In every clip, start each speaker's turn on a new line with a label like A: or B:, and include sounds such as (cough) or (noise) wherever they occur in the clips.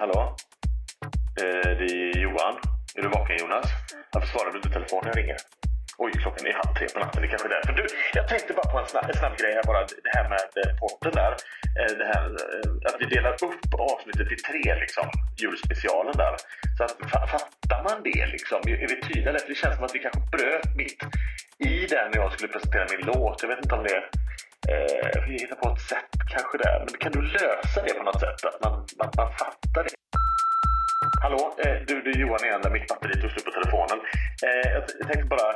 A: Hallå? Eh, det är Johan. Är du vaken Jonas? Varför svarar du inte telefonen jag ringer? Oj, klockan är halv tre på natten. Det kanske är därför. Du, jag tänkte bara på en snabb, en snabb grej här bara. Det här med eh, porten där. Eh, det här, eh, att vi delar upp avsnittet i tre, liksom. Julspecialen där. Så att, fa- fattar man det liksom? Är är vi tydliga? Eller? För Det känns som att vi kanske bröt mitt i den när jag skulle presentera min låt. Jag vet inte om det... Eh, vi hittar på ett sätt kanske där. Men kan du lösa det på något sätt? Att man, man, man fattar det? Hallå, eh, du, det är Johan igen. där Mitt batteri tog slut på telefonen. Eh, jag, t- jag tänkte bara,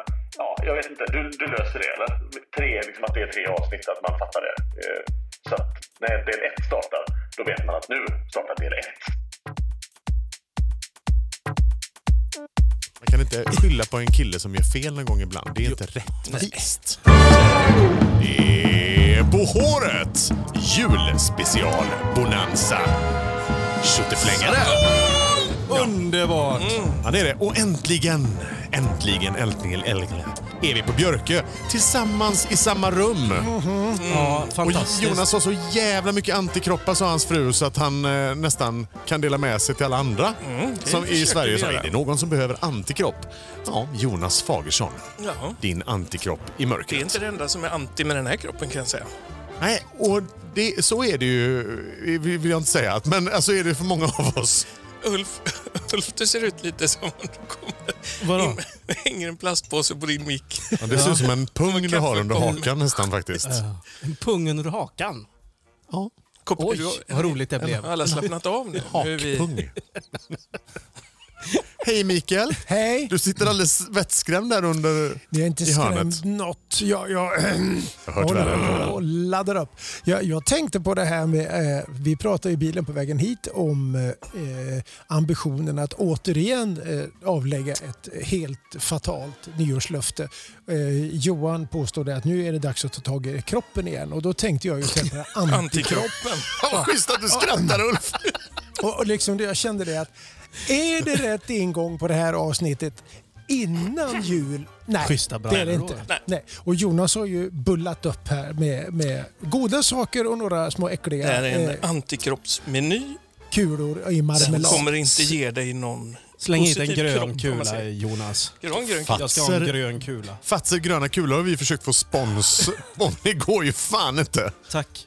A: ja, jag vet inte. Du, du löser det eller? Tre, liksom att det är tre avsnitt, att man fattar det. Eh, så att när del 1 startar, då vet man att nu startar del 1.
B: Man kan inte skylla på en kille som gör fel någon gång ibland. Det är inte rättvist. Det är På håret! Julspecial Bonanza. Tjotteflängare!
C: Underbart!
B: Mm. Ja, det är det. Och äntligen, äntligen, äntligen, äntligen är vi på Björkö tillsammans i samma rum.
D: Mm.
C: Ja,
B: Mm. Och
C: fantastiskt.
B: Jonas har så jävla mycket antikroppar sa hans fru så att han eh, nästan kan dela med sig till alla andra.
C: Mm,
B: som i
C: försöker
B: Sverige
C: vi
B: så är
C: göra.
B: det någon som behöver antikropp. Ja, Jonas Fagersson.
E: Ja.
B: Din antikropp i
E: Det
B: mörkret.
E: är inte det enda som är anti med den här kroppen kan jag säga.
B: Nej, och det, så är det ju, eh, vill jag inte säga, men alltså är det för många av oss.
E: Ulf, (laughs) Ulf du ser ut lite som om du kommer...
C: Vadå?
E: in- (laughs) hänger en plastpåse på din mick.
B: Ja, det ser ut som en pung du har under
E: kaffepung.
B: hakan nästan faktiskt.
C: Pungen ur hakan.
B: Ja,
E: Kopp-
C: Oj,
E: du har-
C: vad roligt det
E: Har
C: blev.
E: alla slappnat av nu? Nu är vi-
B: hakpung. Hej Mikael!
D: Hej!
B: Du sitter alldeles vettskrämd där under
D: Jag är inte
B: i hörnet.
D: skrämd något. Jag, jag,
B: Jag har hört värre.
D: och laddar upp. Jag, jag tänkte på det här med, eh, vi pratade i bilen på vägen hit om eh, ambitionen att återigen eh, avlägga ett helt fatalt nyårslöfte. Eh, Johan påstod att nu är det dags att ta tag i kroppen igen och då tänkte jag ju på det
B: (laughs)
D: här antikropp.
E: Antikroppen.
B: Fan vad schysst att du skrattar Ulf!
D: Och, och liksom det, jag kände det att är det rätt ingång på det här avsnittet innan jul? Nej,
C: Schyssta
D: det är det
C: brallor.
D: inte. Nej. Och Jonas har ju bullat upp här med, med goda saker och några små
E: Det här
D: äckliga
E: är
D: eh,
E: en antikroppsmeny
D: kulor i
E: som
D: marmelad.
E: kommer inte ge dig någon
C: Släng hit en
E: positiv kropp,
C: grön
E: om man
C: kula,
E: säger.
C: Jonas.
E: Grön, grön
B: Fan.
E: kula.
C: Jag ska ha en
B: Ser-
C: grön kula.
B: Fatser gröna kulor har vi försökt få spons om. Det går ju fan inte.
C: Tack.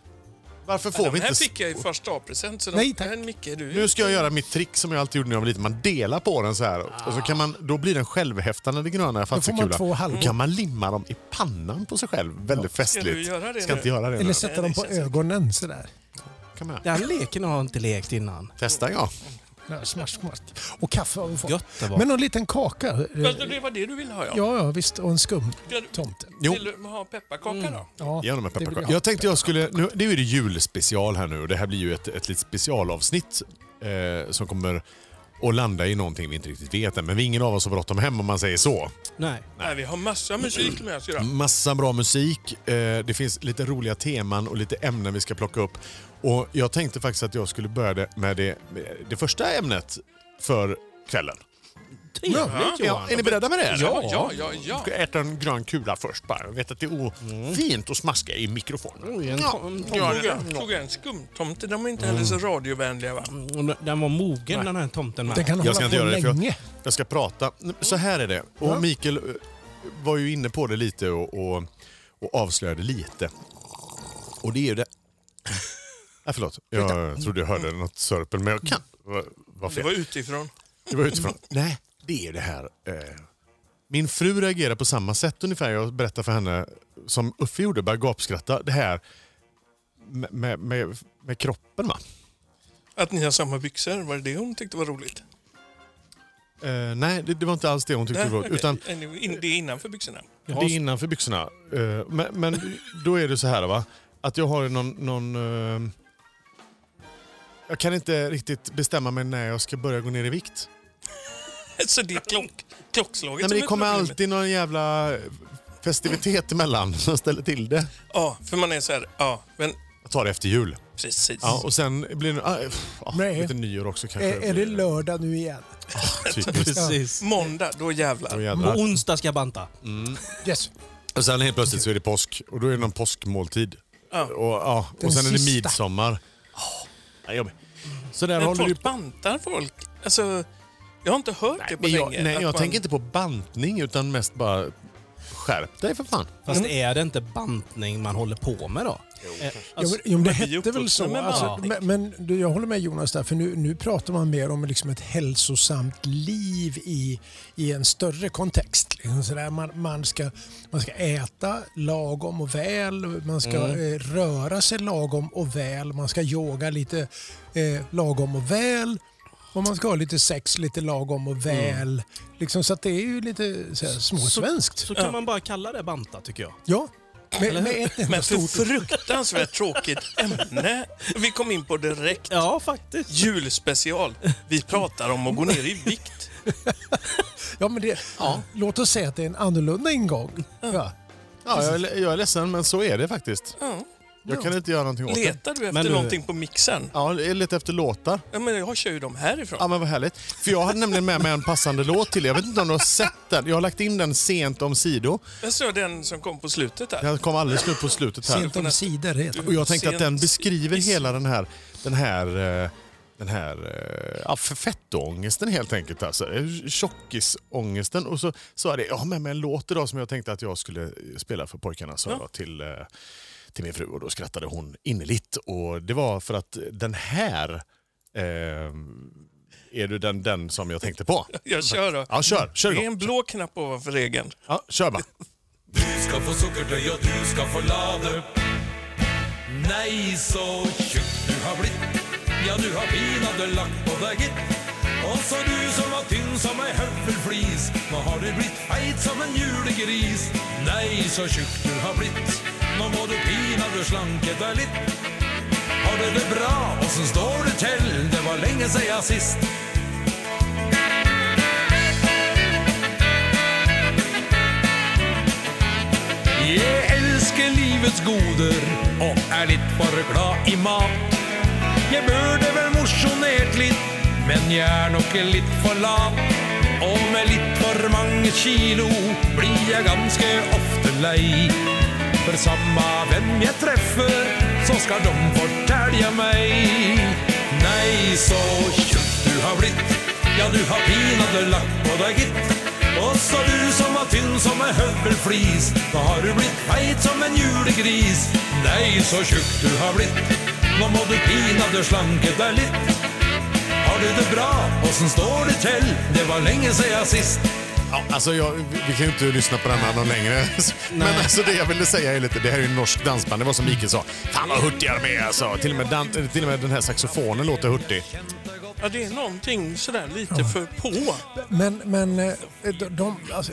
B: Varför får
E: Den
B: vi
E: här
B: inte...
E: fick jag i första present så
D: Nej,
E: den
D: tack.
E: här Micke, du
B: Nu ska jag göra mitt trick som jag alltid gjorde när jag var liten. Man delar på den så här och så kan man, då blir den självhäftande, den gröna
D: får man
B: fatserkulan.
D: två halvor.
B: Då kan man limma dem i pannan på sig själv. Väldigt festligt.
E: Ska du göra det
B: Ska
E: nu?
B: inte göra det nu.
D: Eller sätta dem på
E: känns inte.
D: ögonen sådär.
B: Kan man göra.
C: Den leken har jag inte lekt innan.
B: Testa ja.
D: Ja, smash, smash. Och kaffe har vi fått.
C: Gött det var.
D: Men någon liten kaka. eh,
E: Alltså, det var det du ville ha ja.
D: Ja, ja visst. Och en skumtomte.
B: Jo.
E: Vill du ha pepparkaka då?
D: Ja,
B: Gör dem med
D: det vill
B: pepparkakor.
D: jag.
B: Jag tänkte jag skulle... Nu, det är ju det julspecial här nu och det här blir ju ett, ett litet specialavsnitt eh, som kommer att landa i någonting vi inte riktigt vet än. Men vi är ingen av oss har bråttom hem om man säger så.
C: Nej.
E: Nej, vi har massa musik med oss idag.
B: Massa bra musik. Eh, Det finns lite roliga teman och lite ämnen vi ska plocka upp. Och jag tänkte faktiskt att jag skulle börja det- med det, det första ämnet för kvällen.
C: Trevligt
B: Ja,
C: Johan.
B: är ni beredda med det? eller?
C: Ja. Mm.
E: Ja, ja, ja.
B: Ska äta en grön kula först bara. Jag vet att det är ofint att smaska i mikrofonen.
C: Oj, en
B: Ja,
C: tom-
B: gör
E: Tog
B: det.
E: jag, tog jag en skumtomte? De är inte heller så radiovänliga va?
B: Mm.
C: Och Den var mogen den här tomten
D: Den
C: med.
D: kan
B: Jag ska
D: hålla
B: inte
D: på
B: göra det för jag,
D: länge.
B: jag ska prata. Så här är det. Och Mikael eh, var ju inne på det lite och, och, och avslöjade lite. Och det (laughs) är ju det... Nej, förlåt. Jag trodde jag hörde något sörpel, men jag kan vara var
E: Det var
B: fel.
E: utifrån.
B: Det var utifrån. (laughs) Nej, det är det här. eh, Min fru reagerar på samma sätt ungefär. Jag berättar för henne, som Uffe gjorde, bara gapskratta. Det här med, med, med, med kroppen va?
E: (laughs) Att ni har samma byxor, var det det hon tyckte var roligt?
B: Eh, nej, det, det var inte alls det
D: (laughs)
B: hon tyckte
E: Nej,
B: det var.
E: okej.
B: Utan
E: In- Det är innanför byxorna.
B: Det är innanför byxorna. Eh, Men, men då är det så här va. Att jag har någon... någon eh, jag kan inte riktigt bestämma mig när jag ska börja gå ner i vikt.
E: (laughs) Så det är klock, klockslaget
B: Nej, men
E: som
B: det
E: är
B: kommer
E: problemet.
B: alltid någon jävla festivitet emellan (laughs) som ställer till det.
E: Ja, för man är så här, ja, men
B: Jag tar det efter jul.
E: precis.
B: Ja, och sen blir det... Ah, pff, ah,
D: Nej.
B: lite nyår också kanske.
D: Är, är det lördag nu igen?
B: Typiskt.
C: Precis.
E: Måndag, då jävlar.
B: Åh,
C: På
B: jävlar.
C: onsdag ska jag banta.
B: Mm.
D: Yes.
B: Och sen helt plötsligt så är det påsk och då är det någon påskmåltid.
E: Ja.
B: Och, ja, Ah. och
D: Den
B: sen är det
D: sista.
B: midsommar. Oh, jobbigt. Så där
E: Men
B: håller du
E: folk bantar folk. Alltså, jag har inte hört det på
B: Men jag,
E: länge.
B: nej,
E: att
B: jag
E: man-
B: tänker inte på bantning utan mest bara skärp dig för fan.
C: Fast är det inte bantning man håller på med då? Eh,
D: Mm. Jo,
C: alltså,
D: men- jo, men det
E: vi är
D: hette väl
E: uppvuxna
D: så.
E: med
D: Alltså,
E: bantning.
D: men men du, jag håller med Jonas där, för nu, nu pratar man mer om liksom ett hälsosamt liv i, i en större kontext. Liksom så där. Man, man, ska, man ska äta lagom och väl, man ska eh, röra sig lagom och väl, man ska yoga lite eh, lagom och väl. Och man ska ha lite sex lite lagom och väl. Liksom, så att det är ju lite så här, småsvenskt.
C: så kan man bara kalla det banta tycker jag.
D: Ja, med, med ett enda
E: Men för
D: stort...
E: fruktansvärt tråkigt ämne vi kom in på direkt.
C: Ja, faktiskt.
E: Julspecial. Vi pratar om att gå ner i vikt.
D: Ja, men det, Låt oss säga att det är en annorlunda ingång. Ja.
B: Ja, jag, är le- jag är ledsen men så är det faktiskt.
E: Ja.
B: Jag kan inte göra någonting åt det.
E: Letar du efter
C: Men du-
E: någonting på mixern?
B: Ja, jag letar efter låtar.
E: Ja, men jag kör ju dem härifrån.
B: Ja men vad härligt. För jag hade nämligen med mig en passande låt till er. Jag vet inte om du har sett den. Jag har lagt in den sent om sido.
E: Alltså, Jag såg den som kom på slutet där.
B: Den kom alldeles nu på slutet här.
D: Sent om sidor heter det.
B: Och jag tänkte att den
E: Sent-
B: beskriver hela den här, den här, eh, den här eh, ja, för fettångesten helt enkelt. Alltså. Eh, Tjockisångesten. Och så sa jag det, jag har med mig en låt idag som jag tänkte att jag skulle eh, spela för pojkarna, sa jag till, eh, till min fru. Och då skrattade hon innerligt. Och det var för att den här eh, är du den, den som jag tänkte på.
E: (laughs) Jag kör då.
B: Ja, kör, kör
E: Det är
B: igång.
E: en blå knapp ovanför regeln.
B: Ja, kör bara.
F: Du ska få sukkertøy og du skal få lade. Nei, så tjukk du har blitt. Ja, du har pinadø lagt på deg, gitt. Også du som var tynn som ei høvelflis. Nå har du blitt feit som en julegris. Nei, så tjukk du har blitt. Nå må du pinadø slanke deg litt. Har du det bra? Åssen står det til? Det var lenge sia sist. Jeg elsker livets goder og er litt bare glad i mat. Jeg burde vel mosjonert litt, men jeg er nok litt for lat. Og med litt for mange kilo blir jeg ganske ofte lei. For samma hvem jeg treffer, så skal de fortelja meg. Nei, så tjukk du har blitt, ja du har pinadø lagt på deg, gitt. Også du som var tynn som ei høvelflis, nå har du blitt feit som en julegris. Nei, så tjukk du har blitt, nå må du pinadø slanke deg litt. Har du det bra, åssen står det til, det var lenge sia sist.
B: Ja, alltså jag, vi- vi kan ju inte lyssna på den här någon längre. (laughs) Men alltså det jag ville säga är lite, det här är ju en norsk dansband. Det var som Mikael sa. Fan vad hurtiga de är alltså. Till och med, dan, till och med den här saxofonen låter hurtig.
E: Ja, det är någonting sådär lite för på.
D: Men, men eh, de, de, alltså,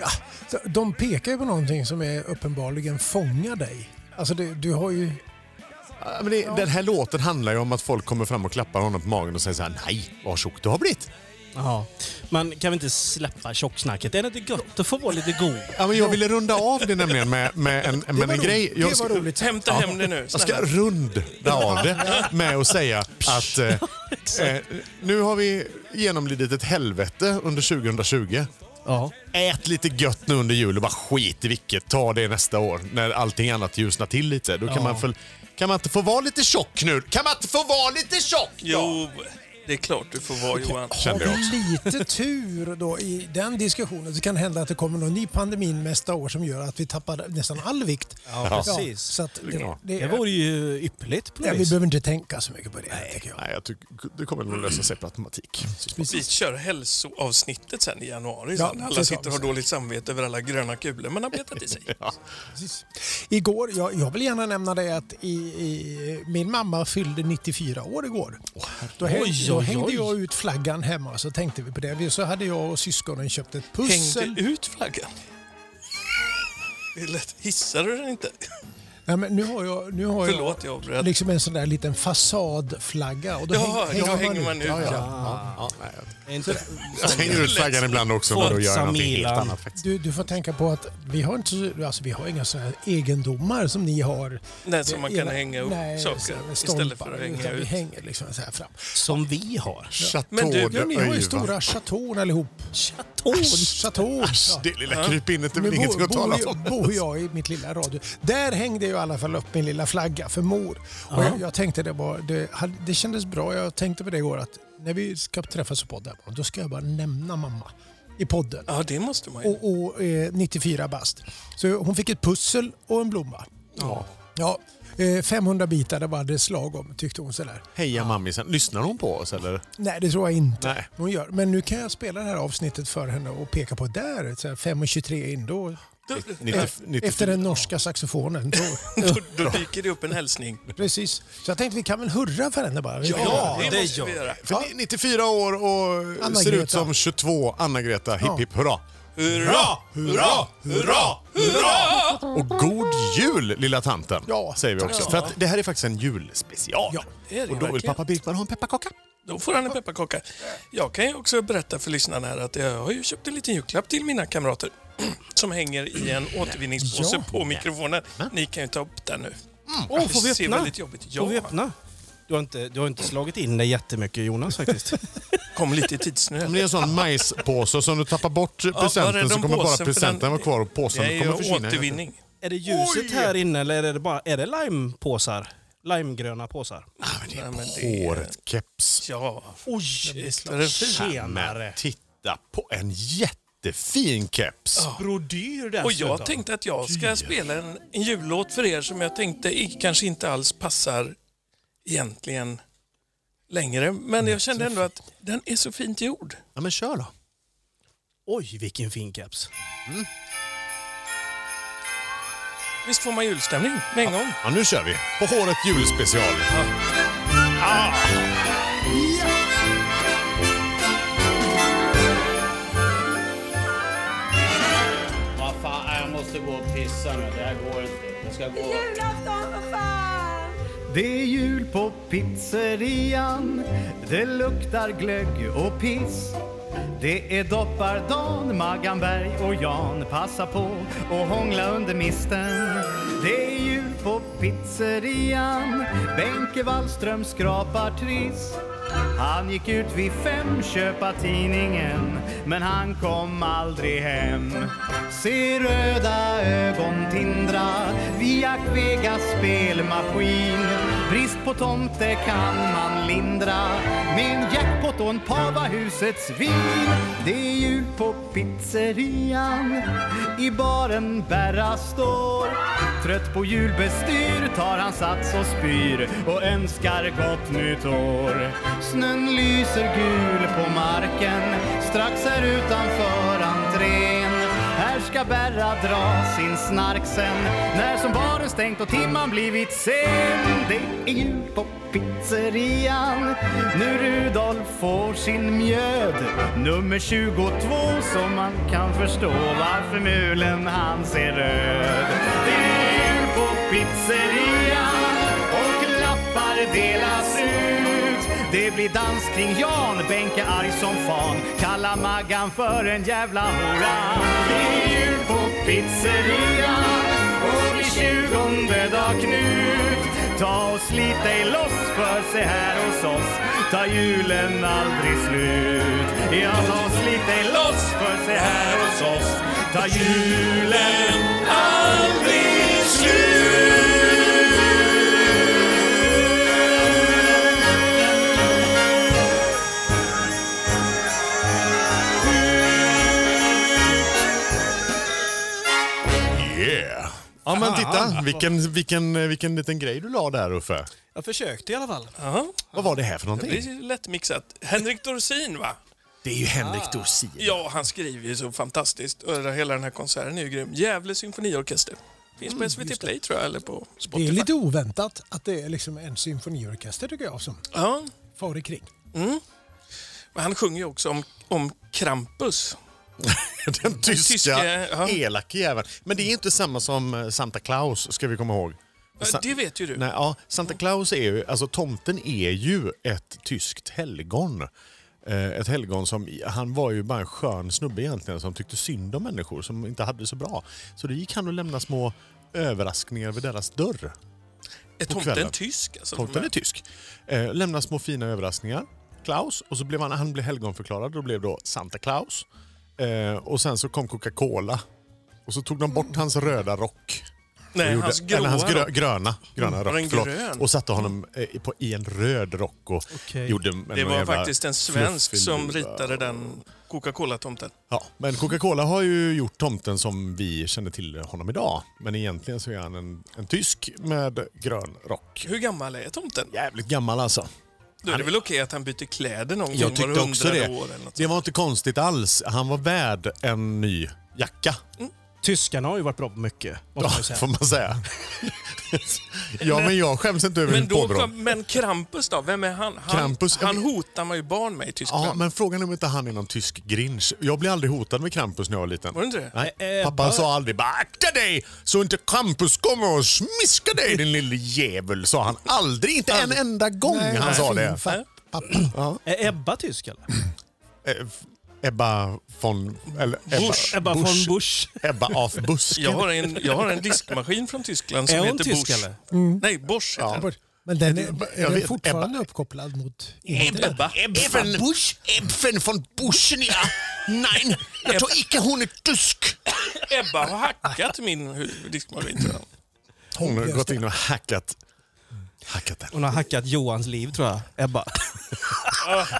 D: ja, de- de pekar ju på någonting som är uppenbarligen fångar dig. Alltså det, du har ju...
B: Ja, Men det, Den här låten handlar ju om att folk kommer fram och klappar honom på magen och säger så här: nej vad tjock du har blivit.
C: Ja. Man kan väl inte släppa tjocksnacket? Är det inte gött att få vara lite god?
B: Ja, men jag ville runda av det nämligen med, med en, med en
D: roligt.
B: grej.
D: Det
B: Jag,
D: var
B: ska-
D: roligt.
E: Hämta hem det nu.
B: Jag ska
E: snälla.
B: runda av det med att säga att eh, eh, nu har vi genomlidit ett helvete under 2020.
C: Ja.
B: Ät lite gött nu under jul och bara skit i vilket. Ta det nästa år när allting annat ljusnar till lite. Då kan,
C: Ja.
B: man, väl- kan man inte få vara lite tjock nu? Kan man inte få vara lite tjock?
E: Jo, det är klart du får vara Johan.
B: Kände jag.
D: Har vi lite tur då i den diskussionen så kan det hända att det kommer någon ny pandemi nästa år som gör att vi tappar nästan all vikt.
C: Ja, precis.
D: så att det,
B: Ja.
D: det,
C: Det vore ju ypperligt på
D: ja,
C: något
D: vi
C: vis.
D: behöver inte tänka så mycket på det, tycker jag.
B: Nej, jag tycker det kommer nog lösa sig på automatik.
E: Vi kör hälsoavsnittet sen i januari.
D: Ja,
E: Sen. Alla
D: precis.
E: sitter och har dåligt samvete över alla gröna kulor man har betat
B: (laughs)
E: i sig.
D: Precis. Igår, jag, jag vill gärna nämna det att i, i, min mamma fyllde 94 år igår. då hängde,
C: Oj,
D: då
C: oj,
D: hängde
C: oj.
D: jag ut flaggan hemma så tänkte vi på det. Vi- Så hade jag och syskonen köpt ett pussel.
E: Hängde ut flaggan. Det är lätt. Hissar du den inte?
D: Nej, men nu har jag, nu har
E: Förlåt, jag
D: jag
E: avbröt.
D: liksom en sån där liten fasadflagga. Och då häng-
E: Ja, då hänger man ut.
D: Ja, ja.
C: Är inte-
B: Jag hänger ut flaggan ibland också när du gör
C: Forza
B: någonting helt
C: Milan.
B: annat. faktiskt.
D: Du, du får tänka på att vi har, inte, så- alltså, vi har inga sådana här egendomar som ni har.
E: Nej, som man kan
D: Era-
E: hänga upp
D: nej, så
E: saker
D: här,
E: istället för
D: stolpar,
E: att
D: utan
E: hänga ut.
D: Vi hänger liksom så här fram.
C: Som vi har.
B: Chateau
E: Men du,
B: de
D: Ja, ni har ju
B: Öiva.
D: stora chateaun allihop.
C: Chaton.
D: Chateaun. Ja.
B: Det lilla krypinnet är väl
D: Nu
B: ingenting
D: bor,
B: att tala
D: bor,
B: om.
D: bor jag i mitt lilla radio. Där hängde i alla fall upp min lilla flagga för mor. Och jag, jag tänkte det, var, det, hade- det kändes bra. Jag tänkte på det igår att när vi ska träffas på podden, då ska jag bara nämna mamma i podden.
E: Ja, det måste man ju.
D: Och, och eh, 94 bast. Så hon fick ett pussel och en blomma. Ja. ja eh, 500 bitar, det var det slag om tyckte hon sådär.
B: Heja mammisen. Lyssnar hon på oss eller?
D: Nej, det tror jag inte
B: Nej.
D: hon gör. Men nu kan jag spela det här avsnittet för henne och peka på där, så här 5.23 in då.
B: 90, 90,
D: Efter den norska saxofonen.
B: (laughs)
D: Då.
E: Då, då dyker det upp en hälsning.
D: Precis. Så jag tänkte vi kan väl hurra för henne bara.
C: Ja, det
E: måste vi
C: gör
E: göra.
B: för ni- 94 år och ser
D: Anna-Greta.
B: ut som 22. Anna-Greta, hipp hipp hurra.
E: Hurra! Hurra! Hurra! Hurra!
B: Och god jul lilla tanten,
D: Ja,
B: säger vi också. För att det här är faktiskt en julspecial.
D: Ja,
E: det är det
B: och då vill
E: verkligen.
B: pappa Birkman ha en pepparkaka.
E: Då får han en pepparkaka. Jag kan ju också berätta för lyssnarna här att jag har ju köpt en liten julklapp till mina kamrater (clears throat) som hänger i en återvinningspåse
D: Ja.
E: på mikrofonen. Ni kan ju ta upp den nu.
C: Åh, får vi
E: Det ser
C: öppna?
E: väldigt jobbigt ut. Ja.
C: Får vi öppna? Du har, inte, du har inte slagit in dig jättemycket Jonas faktiskt.
E: Kom lite i tidsnöd.
B: Om det är en sån majspåse som du tappar bort
E: var är de
B: presenten så kommer bara
E: påsen för
B: presenten
E: den-
B: vara kvar och påsen
E: Det är
B: kommer
E: ju
B: försvinna.
E: återvinning.
C: är det ljuset här inne eller är det bara är det limepåsar? Limegröna påsar?
E: Ja, men det är-
B: Håret, keps.
E: Ja,
C: Oj!
E: visst är det fint.
C: Tjenare!
B: Men titta på en jättefin keps.
C: Brodyr dessutom.
E: Och jag tänkte att jag ska spela en, en jullåt för er som jag tänkte i- kanske inte alls passar egentligen längre. Men jag kände ändå att den är så fint gjord.
B: Ja, men kör då.
C: Oj, vilken fin keps.
B: Mm.
E: Visst får man julstämning med en gång?
B: Ja, nu kör vi. På håret julspecial.
G: Vad fan, jag måste gå och pissa nu. Det här går inte. Jag ska gå...
H: Julafton för fan!
I: Det är jul på pizzerian Det luktar glögg och piss Det är doppardagen, Maggan Berg och Jan Passa på och hångla under misten Det är jul på pizzerian Benke Wallström skrapar triss Han gick ut vid fem köpa tidningen Men han kom aldrig hem Se röda ögon tindra via Vegas spelmaskin Brist på tomte kan man lindra Med en jackpot och en pava husets vin Det är jul på pizzerian I baren Berra står Trött på julbestyr tar han sats och spyr och önskar gott nytt år. Snön lyser gul på marken strax här utanför entrén. Här ska Berra dra sin snark sen när som baren stängt och timman blivit sen. Det är jul på pizzerian nu Rudolf får sin mjöd. Nummer 22 som man kan förstå varför mulen hans är röd. Det är jul på pizzerian och lappar delas ut. Det blir dans kring Jan, Benke arg som fan. Kalla Maggan för en jävla hora. Det är jul på pizzerian och vid tjugonde dag Knut. Ta och slit dig loss för se här hos oss tar julen aldrig slut. Ja, ta och slit dig loss för se här hos oss tar julen aldrig
B: Yeah! Ja, men titta. Vilken, vilken, vilken liten grej du la där, Uffe.
C: Jag försökte i alla fall.
E: Ja,
B: Vad var det här för
E: det är
B: någonting?
E: ju lättmixat. Henrik Dorsin
B: (laughs)
E: va?
B: Det är ju
E: Ah.
B: Henrik Dorsin.
E: Ja, han skriver ju så fantastiskt. Och hela den här konserten är ju grym. Gävle symfoniorkester. Finns
B: Mm,
E: på SVT Play tror jag, eller på
D: Det är
E: Spotify.
D: lite oväntat att det är liksom en symfoniorkester tycker jag som
E: Ja,
D: far kring.
B: Mm.
E: men han sjunger ju också om, om Krampus.
B: Den tyska,
E: tyske, ja.
B: elake jäveln. Men det är inte samma som eh, Santa Claus, ska vi komma ihåg. Sa-
E: Ja, Det vet ju du.
B: Nej, ja, Santa Claus är ju, alltså tomten är ju ett tyskt helgon. Eh, Ett helgon som, han var ju bara en skön snubbe egentligen som tyckte synd om människor som inte hade det så bra. Så då gick han och lämnade små överraskningar vid deras dörr.
E: Är
B: kvällen.
E: tomten tysk? Alltså,
B: Tomten är tysk. Eh, Lämnade små fina överraskningar. Klaus, och så blev han, han blev helgonförklarad och blev då Santa Claus. Eh, Och sen så kom Coca-Cola. Och så tog de bort hans röda rock.
E: Mm. Nej,
B: Och gjorde-
E: hans gråa
B: eller hans grö,
E: rock.
B: gröna, gröna
E: Var
B: rock.
E: den
B: förlåt.
E: grön?
B: Och satte honom eh, på, i en röd rock och
C: Okej.
B: gjorde en
E: Det var
B: jävla
E: faktiskt en svensk
B: fluffig
E: som
B: lula.
E: ritade den Coca-Cola-tomten.
B: Ja, men Coca-Cola har ju gjort tomten som vi känner till honom idag. Men egentligen så är han en, en tysk med grön rock.
E: Hur gammal är tomten?
B: Jävligt gammal alltså.
E: Då är det väl okej att han byter kläder någon
B: Jag
E: gång
B: tyckte också det.
E: år eller något.
B: Det var inte konstigt alls. Han var värd en ny jacka,
E: Mm.
C: Tyskarna har ju varit bra på mycket, måste
B: ja,
C: man ju säga.
B: får man
E: (laughs)
B: säga. ja, men jag skäms inte över
E: Men,
B: mitt
E: då
B: påbrå.
E: kom, men Krampus då? Vem är han? Han,
B: Krampus-
E: han hotar man ju barn med i Tyskland.
B: Ja, men frågan är om inte han är någon tysk grinch. Jag blev aldrig hotad med Krampus när jag var liten.
E: Var det inte det?
B: Nej.
C: Eh,
B: Pappa
C: bara-
B: sa aldrig bara akta dig så inte Krampus kommer och smiskar dig din lille jävel. Sa han aldrig. Inte en enda gång han sa det.
E: Äh?
D: Fin fa- pappa.
C: Är Ebba tysk eller?
B: Eh, Ebba von... Eller Ebba,
C: Ebba von Busch.
B: Ebba af Busk.
E: Jag har, en, jag har en diskmaskin från Tyskland
C: Är
E: som
C: hon
E: heter
C: tysk
E: Bosch.
C: eller?
E: Nej, Bosch heter den.
D: Mm. Men den är, är
B: Jag
D: den
B: vet,
D: fortfarande uppkopplad mot internet?
E: Ebba.
B: Ebben, Ebben von Buschen, ja. Nej, jag tror inte hon är tysk.
E: Ebba har hackat min hu- diskmaskin tror jag.
B: Hon har gått in och hackat. Hackat den.
C: Hon har hackat Johans liv tror jag,
D: (laughs)
C: Ebba.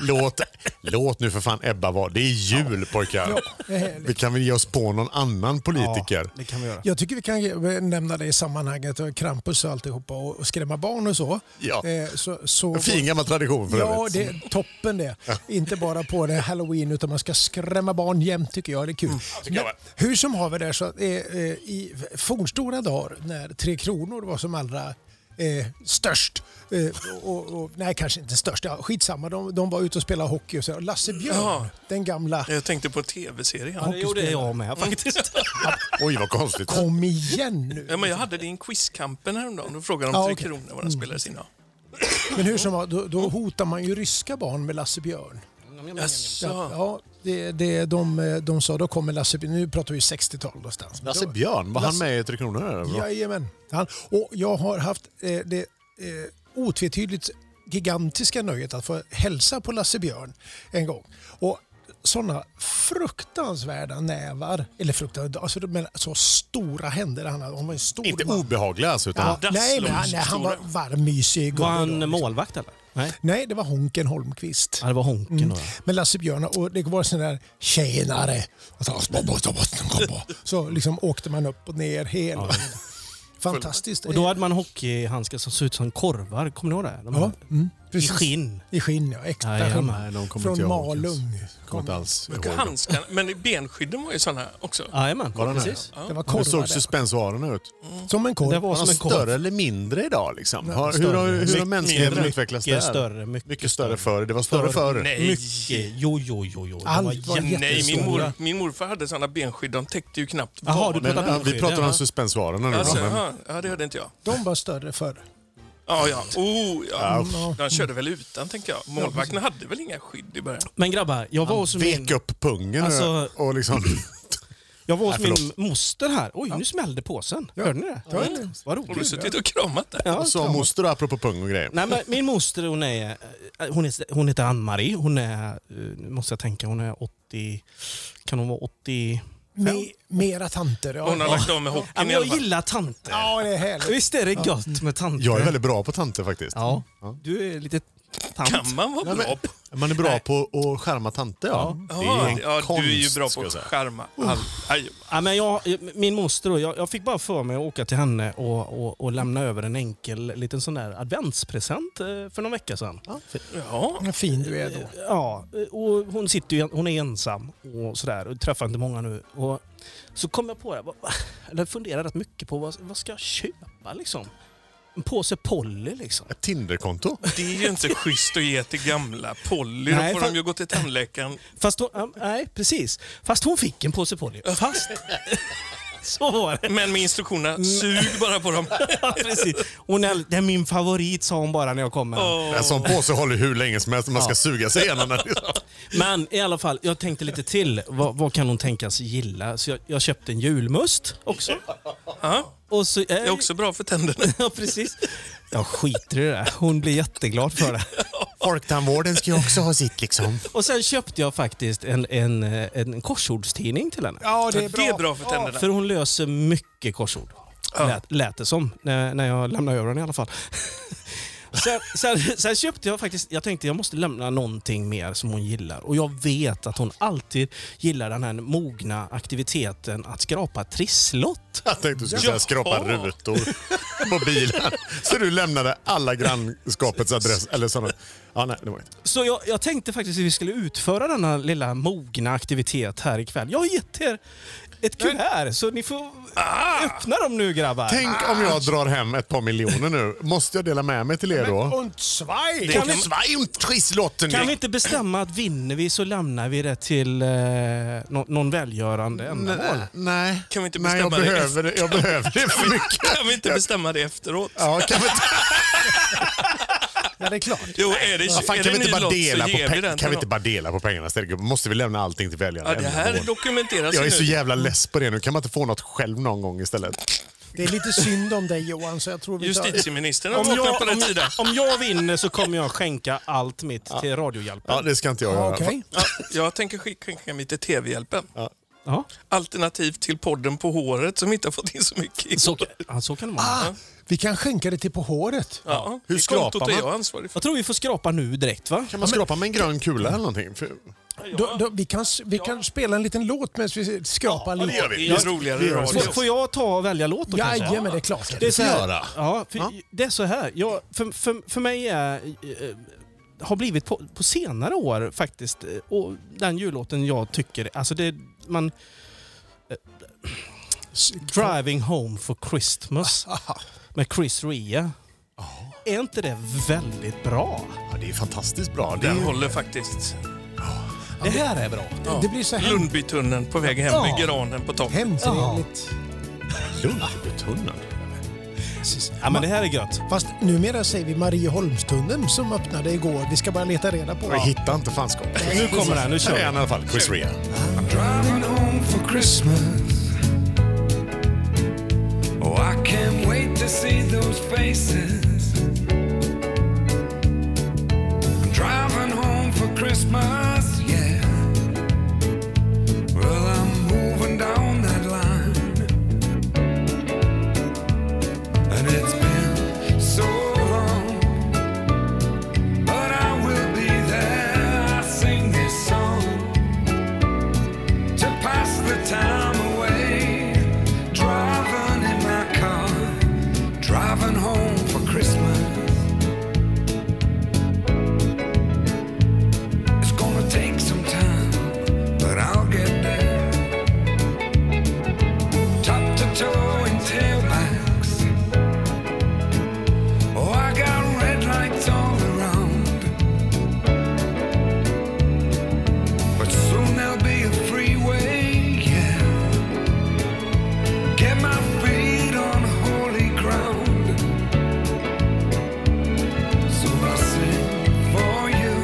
B: Låt, låt nu för fan Ebba vara. Det är jul pojkar.
D: det är härligt.
B: Vi kan väl ge oss på någon annan politiker.
C: Ja, det kan vi göra.
D: Jag tycker vi kan eh, nämna det i sammanhanget, och Krampus och alltihopa och och skrämma barn och så.
B: Ja.
D: Eh, så, så
B: En fin gammal tradition för
D: Ja,
B: övrigt.
D: det är toppen det. Inte bara på det halloween utan man ska skrämma barn jämt tycker jag. Det är kul.
B: jag
D: Men hur som har vi det så att, eh, eh, i fornstora dagar när Tre Kronor var som allra Eh, störst. Eh, och, och, nej, kanske inte störst. Ja, skitsamma, de, de var ute och spelade hockey och så. Lasse Björn,
E: Ja.
D: den gamla.
E: Jag tänkte på Mm. tv-serien.
C: Ja, det gjorde jag med faktiskt.
B: (laughs) Oj, vad konstigt.
D: Kom igen nu.
E: Ja, men jag hade din Quizkampen häromdagen. Då frågade de
D: Ja,
E: Tre
D: okej. Mm.
E: Kronor vad den spelade sina.
D: Men hur som var, då, då hotar man ju ryska barn med Lasse Björn. Ja,
E: Jaså?
D: ja det, det, de, de sa då kommer Lasse Björn, nu pratar vi 60-tal någonstans. Men
B: Lasse
D: då-
B: Björn, var han
D: Lasse-
B: med i Tre Kronor? eller vad?
D: Jajamän. Han, och jag har haft eh, det eh, otvetydigt gigantiska nöjet att få hälsa på Lasse Björn en gång. Och sådana fruktansvärda nävar, eller fruktansvärda, alltså, men så stora händer han hade. Han var en stor
B: Inte
D: man.
B: obehagliga alltså, utan...
D: Ja, nej, men han, nej, han var
E: Stora.
D: varmmysig.
C: Var
D: och- och-
C: han
D: och-
C: målvakt eller? Nej.
D: Nej, det var Honken Holmqvist. Mm.
C: Ja, det var Honken. då, ja.
D: Men Lasse Björn och det var sån där tjenare. Och så- Så liksom åkte man upp och ner hela. Fantastiskt.
C: Och då hade man hockeyhandskar som såg ut som korvar. Kommer ni ihåg det? De
D: Ja,
C: här-
D: mm,
C: I
D: precis.
C: skinn.
D: I skinn, ja. Äkta
C: Jajamän.
D: skinn.
B: Nej, de kommer inte
D: Från
B: jag ihåg,
D: Malung.
B: Kommer inte alls ihåg. dem.
E: Handskarna. Men benskydden var ju sådana också.
C: Jajamän,
B: Var den här?
C: precis.
D: Det var
B: Hur
D: korvar
B: såg
D: där.
B: suspensoaren ut?
D: Som en korv.
C: Det var
B: Var
C: som
B: de
C: en korv.
B: större eller mindre idag? Liksom? Har, hur
C: större.
B: har, hur har
C: Mycket
B: mänskligheten
C: mindre.
B: utvecklats
C: Mycket
B: där?
C: större, mycket
B: större
C: större.
B: förr. Det var större
C: Förr.
B: förr.
E: Nej.
C: Mycket. Jo, jo, jo, jo. De
D: Allt
C: var
D: var
C: jätte-
E: Nej, min,
D: jättestora.
E: mor, min morfar hade sådana benskydd. De täckte ju knappt
C: Jaha, du
E: vaden.
B: Men,
C: pratar
B: ja, vi
C: benskydd,
B: pratar om
C: ja.
B: suspensoarerna nu.
E: Alltså,
B: men,
E: ja, ja, det hörde inte jag.
D: De var större förr.
E: Ja, ja. Oh, ja.
D: Ja.
E: De körde väl utan, tänker jag. Målvakterna hade väl inga skydd i början?
C: Men grabbar, jag var hos min,
B: Vek upp pungen
C: Alltså-
B: och liksom...
C: jag var hos
B: Nej,
C: min Äh, moster här. Oj, nu smällde påsen. Hörde ni det?
D: Ja.
C: Vad
E: (laughs) Har du
C: roligt.
E: suttit och kramat där?
C: Ja,
B: Och så moster då, apropå pung och grejer.
C: Nej, men min moster hon är, eh, hon är, hon heter Ann-Marie. Hon är, eh, nu måste jag tänka, hon är 80, kan hon vara 80?
D: Me, mera tanter. Ja.
E: Hon har lagt av med
C: Ja,
E: hockeyn
C: men
E: i
C: jag
E: alla fall.
C: gillar tanter.
D: ja, det är härligt.
C: Visst är det gött med tanter?
B: Mm. Jag är väldigt bra på tanter faktiskt.
C: Ja, du är lite tant.
E: Kan man vara bra på?
B: Man är bra på att skärma tanter, ja. Det är
E: Ja,
B: en
E: ja, du är ju
B: konst,
E: bra
B: ska
E: på
B: jag
E: att
B: säga.
E: charma. All... Aj,
C: Ja, men jag, min moster och jag, jag fick bara för mig att åka till henne och, och, och lämna över en enkel liten sån där adventspresent eh, för någon vecka sedan.
E: ja.
D: Vad fin du är då.
C: Ja, och hon, sitter ju, hon är ensam och sådär och träffar inte många nu. Och så kom jag på det, vad- eller funderade rätt mycket på vad, vad ska jag köpa liksom? En påse Polly liksom.
B: Ett Tinderkonto.
E: Det är ju inte schysst att ge till gamla. Polly, då
C: Nej,
E: får
C: fan-
E: de ju gå till tandläkaren.
C: Fast hon, ja, nej precis. Fast hon fick en påse Polly. Fast... så var det.
E: Men med instruktionerna, sug bara på dem.
C: Ja, precis. Hon är, det är min favorit sa hon bara när jag kom med den.
B: En sån påse håller hur länge som helst om man ska suga sig igenom den.
C: Men i alla fall, jag tänkte lite till. Vad, vad kan hon tänkas gilla? Så jag, jag köpte en julmust också.
E: Ja,
C: Och så,
E: det är också bra för tänderna.
C: (laughs) Ja, precis. Jag skiter i det. där. Hon blir jätteglad för det.
B: Folktandvården ska ju också ha sitt liksom.
C: Och sen köpte jag faktiskt en, en, en korsordstidning till henne.
D: Ja,
E: Det är bra för tänderna.
C: För hon löser mycket korsord. lät, lät det som när, när jag lämnade över den i alla
B: (laughs)
C: fall. sen, sen, sen köpte jag faktiskt, jag tänkte jag måste lämna någonting mer som hon gillar. Och jag vet att hon alltid gillar den här mogna aktiviteten att skrapa trisslott.
B: Jag tänkte du skulle säga skrapa rutor på bilen. Så du lämnade alla grannskapets adress. Eller sådana. Ja, nej, det var inte.
C: Så jag, jag tänkte faktiskt att vi skulle utföra denna lilla mogna aktivitet här ikväll. Jag har gett er ett kuvert, så ni får öppna dem nu grabbar.
B: ah! Tänk om jag drar hem ett par miljoner nu. Måste jag dela med mig till er då?
D: Und zwei!
B: Kan vi... Schweimtrisslotten!
C: Kan vi inte bestämma att vinner vi så lämnar vi det till eh, nå- någon välgörande ändamål?
B: Nej.
E: Kan vi inte
B: Nej, jag
E: bestämma det
B: behöver det. Jag behöver det för mycket.
E: Kan vi inte bestämma det efteråt?
B: Ja, kan vi inte,
D: Ja, det är klart.
E: Jo, är det,
B: ja, fan,
E: är
B: kan
E: det
B: vi inte
E: ny
B: bara
E: lott så
B: dela på
E: ger vi
B: pengarna?
E: den
B: Kan
E: till
B: vi inte
E: dem.
B: bara dela på pengarna istället? gubben? Måste vi lämna allting till väljarna?
E: Ja, det här
B: Ändamål.
E: dokumenteras
B: jag är så
E: nu.
B: jävla less på det nu. Kan man inte få något själv någon gång istället?
D: Det är lite synd om dig Johan, så jag tror vi tar...
E: Justitieministern har
C: Om jag,
E: vaknat på
C: om,
E: den tiden.
C: om jag vinner så kommer jag skänka allt mitt till Radiohjälpen.
B: Ja, det ska inte jag göra. i
D: Ja,
B: alla fall.
D: Okej.
E: Ja, jag tänker skick- skicka mig till TV-hjälpen.
C: Ja.
E: Alternativ till podden På håret som inte har fått in så mycket. i-
C: Så, ja, så kan det vara.
D: Ah, vi kan skänka det till På håret.
E: Ja,
B: Hur
E: det
B: skrapar
E: kontot
B: man?
E: är jag ansvarig för.
C: Jag tror vi får skrapa nu direkt va?
B: Kan man skrapa med en grön kula eller någonting? För...
D: Då, då, vi kan, s- vi kan spela en liten låt medan vi skrapar
B: Ja, det gör
D: lite.
E: Det
B: vi.
E: är roligare i radio.
C: Får, får jag ta och välja låt då kanske?
D: Jajamän, det är klart.
C: Det är så här,
B: göra.
C: ja, för, Det är så här. Jag, för, för, för mig är, eh, har blivit på, på senare år faktiskt, eh, och den jullåten jag tycker, alltså det, man... eh, Driving Home for Christmas med Chris Rea. Är inte det väldigt bra?
B: Ja, det är fantastiskt bra. Det är
E: Den
B: ju...
E: håller faktiskt.
C: Det här är bra.
D: Det- Det blir så hem,
E: Lundbytunneln på väg hem med granen på topp.
D: hemtrevligt.
B: Lunchbetunneln.
C: Ja, men det här är gött.
D: Fast numera säger vi Marieholmstunneln som öppnade igår. Vi ska bara leta reda på
B: Vi
D: det.
B: hittar inte fanskapet.
C: Nu kommer den, nu kör
B: Här
C: vi.
B: är han i alla fall. Chris Rea.
J: Driving home for Christmas. Oh, I can't wait to see those faces. I'm driving home for Christmas, yeah. Well, I'm moving down that line. And it's been so long. But I will be there. I sing this song to pass the time away. Driving in my car, driving home for Christmas. It's gonna take some time, but I'll get there. Top to toe in tailbacks. Oh, I got red lights all around. But soon there'll be a freeway, yeah. Get my feet on holy ground. So I sing for you.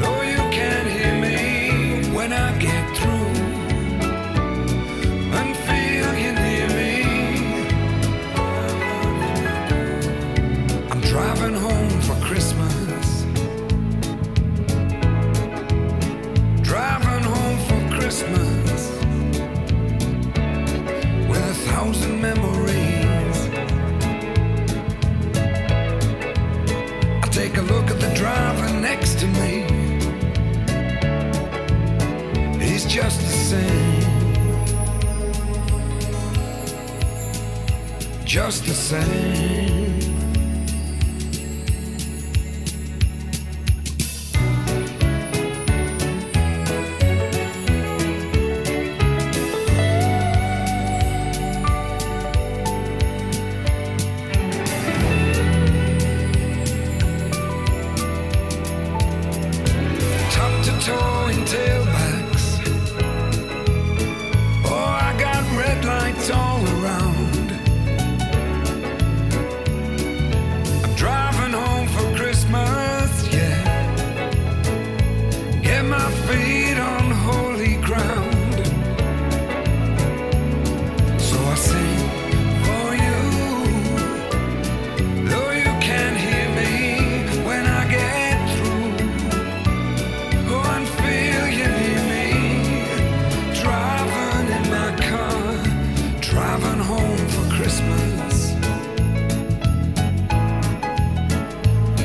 J: Though you can't hear me when I get through. And feel you near me. I'm driving home for Christmas. driving home for Christmas with a thousand memories. I take a look at the driver next to me. He's just the same. Just the same. top to toe in tailbacks. Oh, I got red lights all around.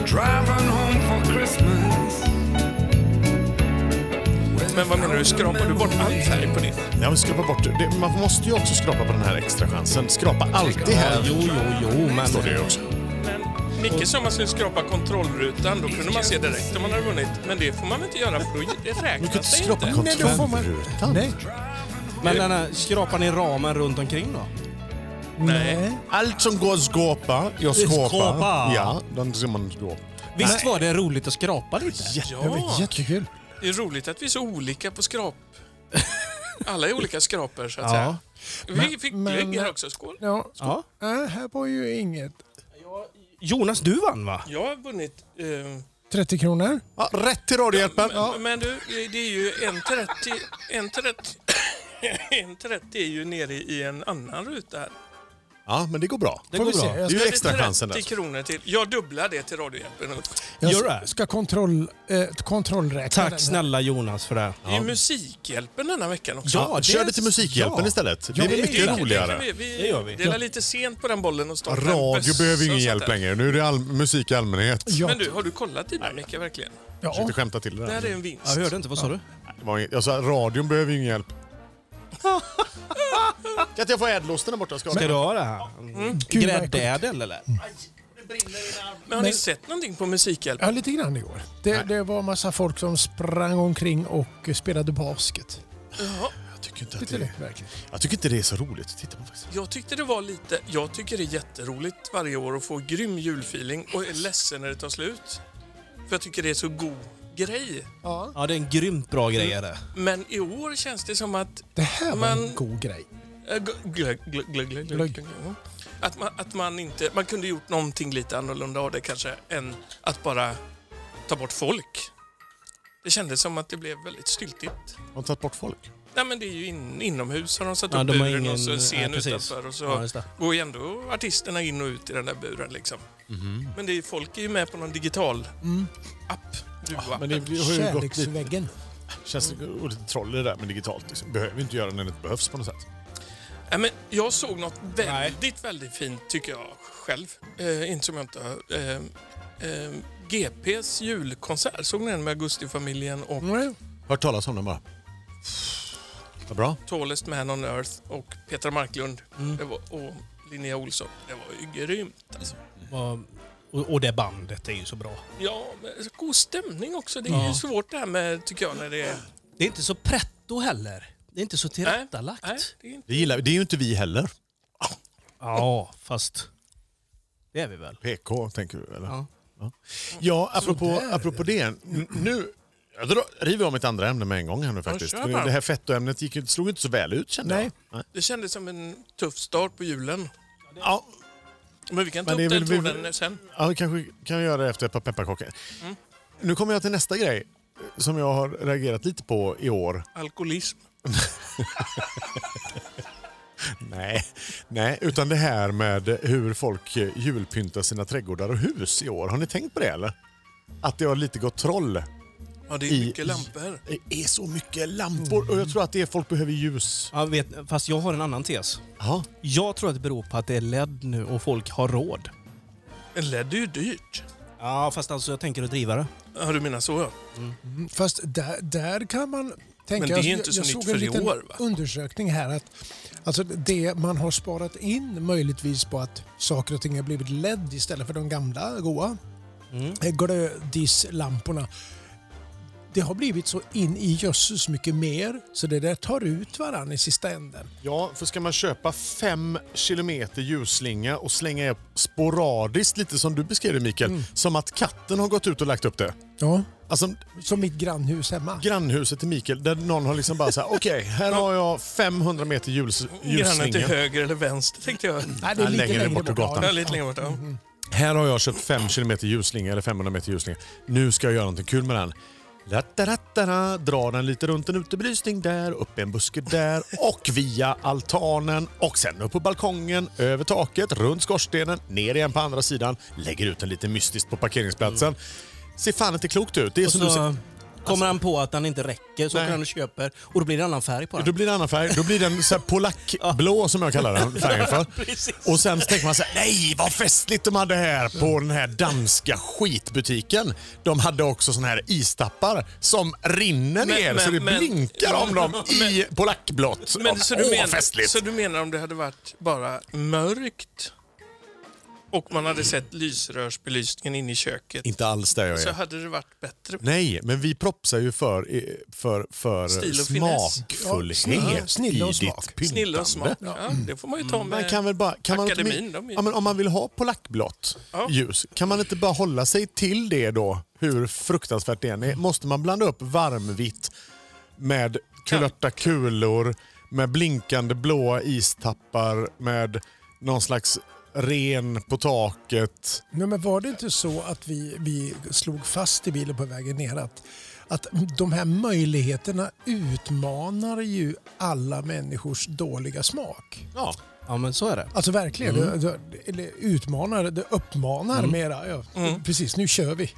J: Driving home for Christmas
E: Men vad menar du? Skrapar du bort all färg på ditt?
B: Ja, men skrapa bort det. Man måste ju också skrapa på den här extra chansen. Skrapa alltid här.
C: Jo, jo, jo, men...
B: Står det ju också.
E: Men Micke sa man skulle skrapa kontrollrutan, då kunde man se direkt om man hade vunnit. Men det får man väl inte göra, för då det
B: (laughs) Du kan inte
E: räknas det
B: skrapa
E: inte.
D: Nej, då får man-
B: kontrollrutan.
D: Nej.
C: Men den här, skrapar ni ramen runt omkring då?
E: Nej.
B: Allt som går att skåpa, jag skåpar.
C: Skåpa.
B: Ja, den ska man skåpa.
C: Visst var det roligt att skrapa lite?
E: Ja,
D: Jättekul.
E: det är roligt att vi är så olika på
B: (laughs)
E: skrap. Alla är olika skraper, så att säga. Vi fick
D: men-
E: glögg här också. Skål!
D: Ja.
C: Ja.
D: Nej, här var ju inget.
C: Jonas, du vann va?
E: Jag har vunnit. eh,
D: 30 kronor.
B: Ja, rätt till Radiohjälpen. Ja.
E: Men, men du, det är ju en till rätt till- en till rätt- (coughs) en till rätt är ju nere i en annan ruta här.
B: ja, men det går bra.
D: Får vi se.
B: Det är
D: Jag
B: ju
D: ska,
B: extra chansen där.
E: 30 kronor till. Jag dubblar det till Radiohjälpen.
D: jag
C: Gör
D: ska,
C: det.
D: ska kontroll, eh, kontrollräkna den här.
C: Tack snälla Jonas för det.
E: Det är ju Musikhjälpen denna veckan också.
C: Ja, det-
B: Kör det till Musikhjälpen
C: Ja.
B: istället. Det är väl
E: Det- det-
B: mycket
E: det-
B: roligare.
E: det- Vi,
C: Det gör vi.
E: delar lite sent på den bollen och startar en
B: Radio
E: bössa
B: behöver ju
E: och
B: ingen
E: sånt
B: hjälp
E: där.
B: längre. Nu är det all, musik i allmänhet.
D: Ja.
E: Men du, har du kollat i Micke verkligen?
B: Jag försökte skämta till det
E: Det
B: där.
E: här är en vinst.
C: Jag hörde inte, vad sa du?
B: Det var inget- Jag sa radion behöver ju ingen hjälp. Kan inte (laughs) jag få ädelosten där borta? Ska
C: Ska
B: jag-
C: du ha det här?
E: Mm.
C: Mm.
D: Gud, vad
C: Gräddädel eller?
B: Mm.
E: Men har ni sett någonting på Musikhjälpen?
D: Ja, lite grann igår. Det, det var massa folk som sprang omkring och eh, spelade basket.
B: Jag tycker inte att
D: Lite
B: det,
D: lätt verkligen.
B: jag tycker inte det är så roligt att titta på faktiskt.
E: Jag tyckte det var lite... Jag tycker det är jätteroligt varje år att få grym julfeeling och är ledsen när det tar slut. För jag tycker det är så god grej.
C: Ja, det är en grymt bra grej
B: Mm.
C: är det.
E: Mm. Men i år känns det som att...
D: Det här var
E: Men-
D: en god grej.
E: äh, gl- glögg, glögg, glögg, glögg, glögg, glögg. Ja. Att man, att man inte... Man kunde gjort någonting lite annorlunda av det kanske än att bara ta bort folk. Det kändes som att det blev väldigt styltigt.
B: Har de tagit bort folk?
E: Nej men det är ju in, inomhus har de satt
C: Ja,
E: upp
C: de har
E: buren
C: ingen-
E: och så en scen
C: nej, precis.
E: utanför och så
C: Ja, just det.
E: går ju ändå artisterna in och ut i den där buren liksom. Men det är, folk är ju med på någon digital app. Duo-appen.
B: Men det har ju gått lite...
D: Kärleksväggen.
B: Känns det ordet troll i det där med digitalt. Liksom. Behöver inte göra när det inte behövs på något sätt.
E: Nej, men jag såg något väldigt, väldigt fint tycker jag själv. Eh, inte som jag inte har. Eh, eh, GPs julkonsert, såg ni den med Augustifamiljen och
B: Hört talas om den bara. Vad bra.
E: Tallest Man on Earth och Petra Marklund
C: Mm.
E: det var, och Linnea Olsson. Det var ju grymt alltså.
C: Och- Och, och det bandet är ju så bra.
E: Ja, men god stämning också. Det är ju
C: Ja.
E: svårt det här med, tycker jag, när det är...
C: Det är inte så pretto heller. Det är inte så tillrättalagt.
E: Nej, det är inte.
B: Det, gillar, det är ju inte vi heller.
C: Ja, fast... Det är vi väl?
B: PK tänker du eller? Ja.
C: Ja.
B: Ja, apropå, apropå det. n- Nu jag drar, river om ett andra ämne med en gång här nu faktiskt.
E: kör
B: För
E: bara.
B: det här fettoämnet gick, ju- slog ju inte så väl ut kände
D: Nej.
B: jag. Nej.
E: Det kändes som en tuff start på julen.
B: Ja,
E: Men vi kan ta
B: Men det
E: upp
B: är
E: den
B: väl- vi-
E: tråden sen.
B: Ja, vi kanske kan göra det efter ett par pepparkakor.
E: Mm.
B: Nu kommer jag till nästa grej eh, som jag har reagerat lite på i år.
E: Alkoholism.
B: (laughs) Nej, nej utan det här med hur folk eh, julpyntar sina trädgårdar och hus i år. Har ni tänkt på det eller? Att det har lite gått troll.
E: Ja, det är
B: I-
E: mycket lampor.
B: Det är så mycket lampor och jag tror att det är folk behöver ljus.
C: Ja, vet, fast jag har en annan tes.
B: Ja,
C: Jag tror att det beror på att det är LED nu och folk har råd.
E: En LED är ju dyrt.
C: Ja, fast alltså jag tänker att driva det.
E: Ja, du menar så ja.
D: Fast där, där kan man tänka...
E: Men det är inte så
D: jag
E: nytt
D: såg
E: för
D: en
E: i
D: liten
E: år, va?
D: undersökning här att alltså det man har sparat in möjligtvis på att saker och ting har blivit LED istället för de gamla goa eh, glödislamporna. Det har blivit så in i jösses mycket mer så det där tar ut varann i sista
E: Mm.
D: änden.
B: ja för ska man köpa fem kilometer ljusslinga och slänga upp sporadiskt, lite som du beskrev det Mikael,
E: Mm.
B: som att katten har gått ut och lagt upp det.
D: Ja.
B: Alltså,
D: Som mitt grannhus hemma.
B: grannhuset till Mikael där någon har liksom bara så här, okej, här har jag 500 meter ljus,
E: Grannen till
B: ljusslinga.
E: höger eller vänster tänkte jag.
D: Nej,
B: Ja, längre bort på gatan.
E: Ja, lite längre bort. Ja.
B: Här har jag köpt 5 km ljusslinga eller 500 meter ljusslinga. Nu ska jag göra någonting kul med den. Rattarattara, dra den lite runt en utebelysning där, upp i en buske där och via altanen och sen upp på balkongen, över taket, runt skorstenen, ner igen på andra sidan. Lägger ut den lite mystiskt på parkeringsplatsen. Ser fan inte klokt ut. Det är
C: Mm. Och
B: som
C: så
B: du ser.
C: kommer han på att den inte räcker, så åker
B: Nej.
C: han och köper och då blir det annan färg på
B: Då
C: den.
B: blir det en annan färg. Då blir den så här polackblå som jag kallar den
E: (laughs)
B: färgen för.
C: Precis.
B: Och sen så tänker man så här, nej vad festligt de hade här
E: Mm.
B: på den här danska skitbutiken. De hade också såna här istappar som rinner
E: Men-
B: ner
E: men-
B: så det
E: men-
B: blinkar om dem
E: (laughs)
B: i polackblått.
E: Men, så, du
B: Åh, vad
E: menar,
B: festligt!
E: så du menar om det hade varit bara mörkt och man hade sett lysrörsbelysningen inne i köket
B: Inte alls där jag
E: så
B: är.
E: hade det varit bättre.
B: Nej, men vi propsar ju för, eh, för, för
E: Stil och finess.
D: Ja,
B: smakfullhet
D: snill- snille och
B: i
D: smak.
B: ditt pyntande.
E: Snille och smak. Ja, det får man ju ta med.
B: Man kan väl bara, kan man inte,
E: akademin, de är-
B: ja, men om man vill ha polackblått
E: Ja.
B: ljus, kan man inte bara hålla sig till det då, hur fruktansvärt det än är? Måste man blanda upp varmvitt med kulörta kulor, med blinkande blåa istappar, med någon slags ren på taket?
D: Nej, men var det inte så att vi, vi slog fast i bilen på vägen ner att, att de här möjligheterna utmanar ju alla människors dåliga smak?
B: Ja.
C: Ja, men så är det.
D: Alltså verkligen.
B: Mm.
D: Det, det, eller utmanar, det uppmanar mera. Ja,
B: Mm.
D: Precis, nu kör vi.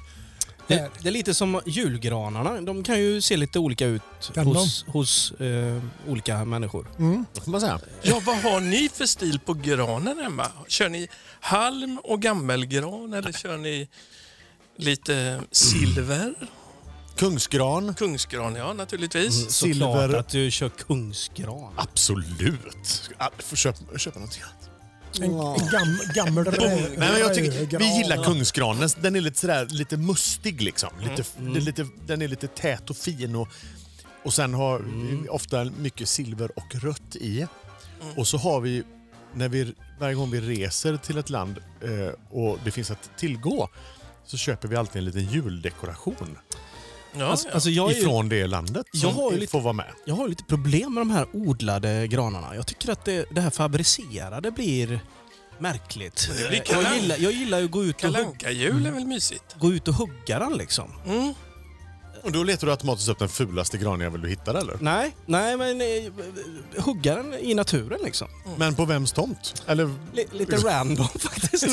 C: Det,
D: Här.
C: det är lite som julgranarna. De kan ju se lite olika ut
D: Kan
C: hos, hos eh, olika människor.
B: Mm. Vad får man
C: Mm,
B: säga?
E: Ja, vad har ni för stil på granen hemma? Kör ni halm och gammelgran eller kör ni lite silver?
B: Kungsgran? Mm,
E: Kungsgran, ja naturligtvis.
C: Mm, Såklart
B: Silver-
C: att du kör kungsgran.
B: Absolut. Ja, får Köpa, köpa något annat.
D: En, en gam, gammal rö-
B: Nej, men jag tycker,
D: rödgran.
B: vi gillar Kungsgranen. Den är lite, sådär, lite mustig. Liksom.
C: Mm.
B: Lite, det är lite, den är lite tät och fin. Och, och sen har
C: Mm.
B: vi ofta mycket silver och rött i. Och så har vi, när vi, varje gång vi reser till ett land eh, och det finns att tillgå, så köper vi alltid en liten juldekoration
E: Ja,
C: Alltså,
E: ja.
C: alltså jag, är ju,
B: ifrån det landet
C: Jag
B: som
C: har ju lite-
B: får vara med.
C: jag har ju lite problem med de här odlade granarna. Jag tycker att det, det här fabricerade blir märkligt.
E: det blir
C: jag,
E: kalank.
C: gillar, jag gillar ju att gå Mm. ut och,
E: Kalle
C: hugga,
E: Anka-jul är väl mysigt?
C: gå ut och hugga den liksom.
E: Mm.
B: Och då letar du automatiskt upp den fulaste granjäveln du hittar eller?
C: Nej, nej men eh, hugga den i naturen liksom.
B: Men på vems tomt? Eller liksom-
C: Li- lite
B: (laughs)
C: random faktiskt.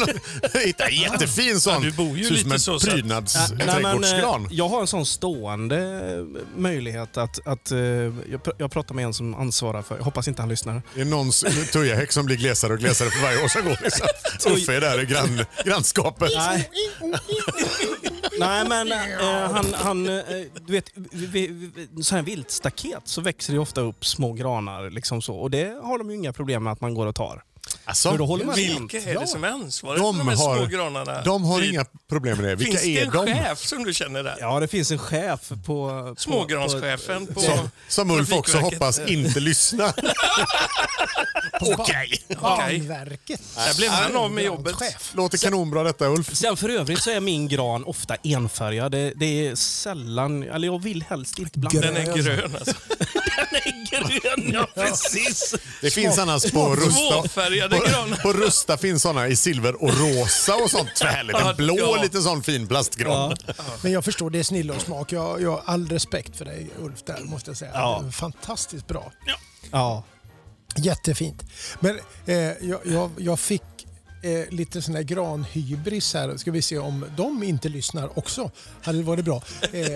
B: Hitta en jättefin sån.
E: Ja, du bor ju
B: Ser ut
E: lite
B: som
E: så,
B: en
E: så att-
C: Nej, nej, men,
B: prydnadsträdgårdsgran.
C: eh, jag har en sån stående eh, möjlighet att... att eh, jag, pr- jag pratar med en som ansvarar för... Jag hoppas inte han lyssnar.
B: Det är någons tujahäck som blir glesare och glesare för varje år som går. liksom. (laughs)
E: (laughs)
B: Uffe är där i grann, grannskapet.
C: Nej. (laughs) Nej, men eh, han... han eh, du vet, vi- vi- vi- så här viltstaket så växer det ju ofta upp små granar. Liksom så, och det har de ju inga problem med att man går och tar.
B: Alltså,
C: Så då håller man rent.
E: Vilka är det som är ansvariga
B: De
E: för de här
B: har-
E: små granarna?
B: de har
E: Vid-
B: inga problem med det. Vilka
E: Finns det
B: är
E: en
B: de?
E: chef som du känner (laughs) där?
C: Ja, det finns en chef på... på,
E: Smågranschefen på,
B: Som, som Ulf också
E: Trafikverket.
B: hoppas inte lyssnar.
C: (laughs)
B: Okej.
E: Okej.
D: Banverket.
E: Där blev han av med jobbet.
B: Låter kanonbra detta Ulf.
C: Sen för övrigt så är min gran ofta enfärgad. Det, det är sällan... Eller jag vill helst inte blanda.
E: Den är grön alltså.
C: Den är grön, (laughs) ja precis.
B: Det finns annars på Rusta.
E: Tvåfärgade
B: På,
E: granar.
B: på Rusta finns såna i silver och rosa och sånt. Tvärligt. En blå
E: Ja.
B: liten sån fin plastgran.
D: Men jag förstår, det är snille och smak. Jag, jag har all respekt för dig Ulf där måste jag säga. Fantastiskt bra.
C: Ja.
D: Jättefint. Men eh, jag, jag, jag fick eh, lite sån här granhybris här. Ska vi se om de inte lyssnar också. Hade varit
E: (laughs)
D: bra. Eh,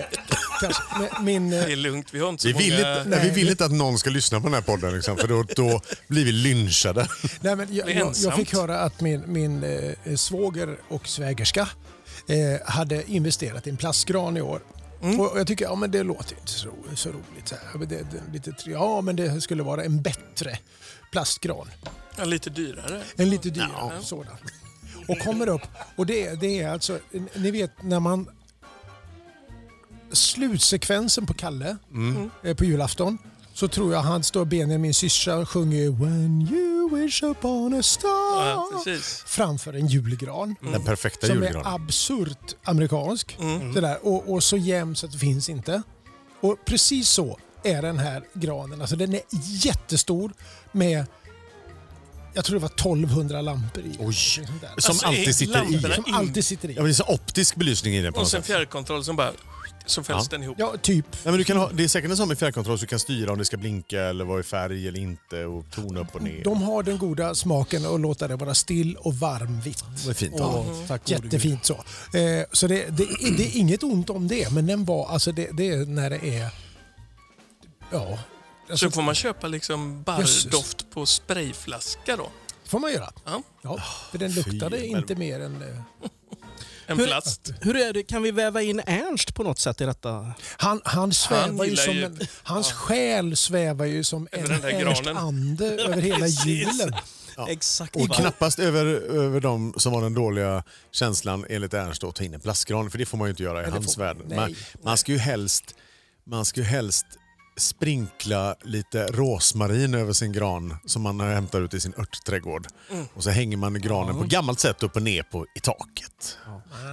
D: kanske, men- min, eh,
E: Det är lugnt, vi har inte så
B: Vi vill,
E: många...
B: inte, nej, vi vill inte att någon ska lyssna på den här podden, liksom, för då, då blir vi lynchade.
D: nej, men jag,
E: Blir
D: jag, jag
E: ensamt.
D: fick höra att min, min eh, svåger och svägerska eh, hade investerat i en plastgran i år. Och och jag tycker ja, men det låter inte så, ro- så roligt. Så här. Ja, men Det, det, är lite, tri- ja, men det skulle vara en bättre plastgran.
E: Ja, lite dyrare.
D: En lite dyrare sådan. Och kommer upp. Och det, det är alltså, ni vet när man... Slutsekvensen på Kalle
B: Mm.
D: eh, på julafton. Så tror jag han står benen min syrsa och sjunger When you wish upon a star.
E: Ja, precis.
D: framför en julgran.
B: Mm. Den perfekta
D: Som
B: julgranen. Mm.
D: är absurt amerikansk. Det där. Och, och så jämn så att det finns inte. Och precis så är den här granen. Alltså den är jättestor med jag tror det var 1200 lampor i.
B: Oj.
D: Sånt där.
B: Som
E: Alltså, är
B: alltid sitter i.
E: lamporna-
D: Som alltid sitter i.
B: Ja, men det är så optisk belysning i den på
E: Och
B: något
E: sen
B: sätt.
E: fjärrkontroll som bara... så fälls den ihop.
D: Ja, typ.
B: Nej, men du kan ha, det är säkert en sån med fjärrkontroll så du kan styra om det ska blinka eller vara i färg eller inte och tona upp och ner.
D: De har den goda smaken att låta det vara still och varmvitt.
B: Det är fint.
D: Ja,
C: tack gode
D: Jättefint så. Eh, så det, det, det är inget ont om det, men den var, alltså det, det är när det är... Ja,
C: Alltså,
D: Alltså,
E: så får man köpa liksom barrdoft på sprayflaska då.
D: det får man göra.
E: Ja.
D: Ja, för den luktade
B: men-
D: inte mer än... eh,
E: En
C: Hur-
E: plast.
C: Hur är det, kan vi väva in Ernst på något sätt i detta?
D: Han, han svävar ju
E: gillar
D: som
E: ju-
D: en, hans själ svävar ju som en
E: Över den där
D: Ernst
E: granen.
D: ande
E: (laughs)
D: över
C: (laughs)
D: hela julen.
C: Exakt.
B: Och knappast över, över de som har den dåliga känslan enligt Ernst att ta in en plastgran, för det får man ju inte göra i hans
D: får-
B: värld.
D: nej,
B: Man, man ska ju helst, man ska ju helst sprinkla lite rosmarin över sin gran som man hämtar ut i sin örtträdgård.
D: Mm.
B: Och så hänger man granen på gammalt sätt upp och ner på, i taket.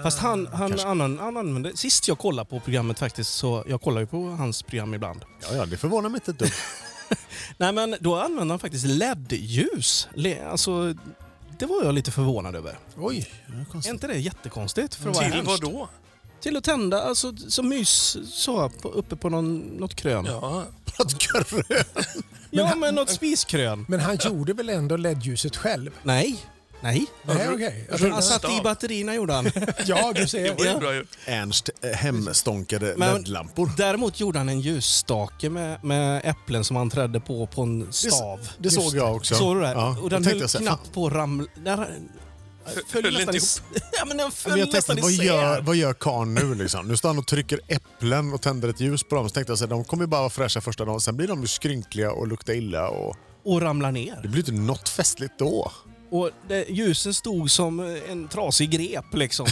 C: Fast han,
B: Ah,
C: han, annan, han använde... Sist jag kollade på programmet faktiskt, så jag kollar ju på hans program ibland.
B: Ja, ja, det förvånar mig inte ett dugg.
C: (laughs) Nej men då använde han faktiskt LED-ljus. Le, alltså, det var jag lite förvånad över.
D: Oj.
C: Är inte det jättekonstigt? För att vara
E: Till
C: Ernst?
E: vad då?
C: Till att tända, alltså som mys så, på, uppe på någon, något krön. Ja,
E: Ja.
C: men något spiskrön.
D: Men han gjorde väl ändå LED-ljuset själv?
C: Nej. Nej.
D: Nej, okej. Jag
C: Han
D: trodde-
C: satte i batterierna gjorde han.
B: (laughs)
D: Ja, du
E: Det
D: ser.
E: var ju
C: Ja.
E: bra gjort.
B: Ernst eh, hemstånkade
C: Men-
B: LED-lampor.
C: Däremot gjorde han en ljusstake med, med äpplen som han trädde på på en stav.
B: Det såg jag också.
C: Såg du det?
B: Ja,
C: och
B: då
C: den
B: tänkte
C: höll
B: jag så här,
C: knappt på att ramla... Den
E: Höll
C: föll nästan
E: inte
C: is- (laughs) ja, men den föll
B: Men jag
C: nästan
B: tänkte, vad
C: isär.
B: gör, vad gör karln nu? Liksom? Nu står han och trycker äpplen och tänder ett ljus på dem. Så tänkte jag så här, de kommer ju bara vara fräscha första dagen, sen blir de ju skrynkliga och luktar illa. Och
C: Och ramlar
B: det
C: ner.
B: blir inte något festligt då.
C: Och det, ljusen stod som en trasig grep
B: (laughs)
C: liksom.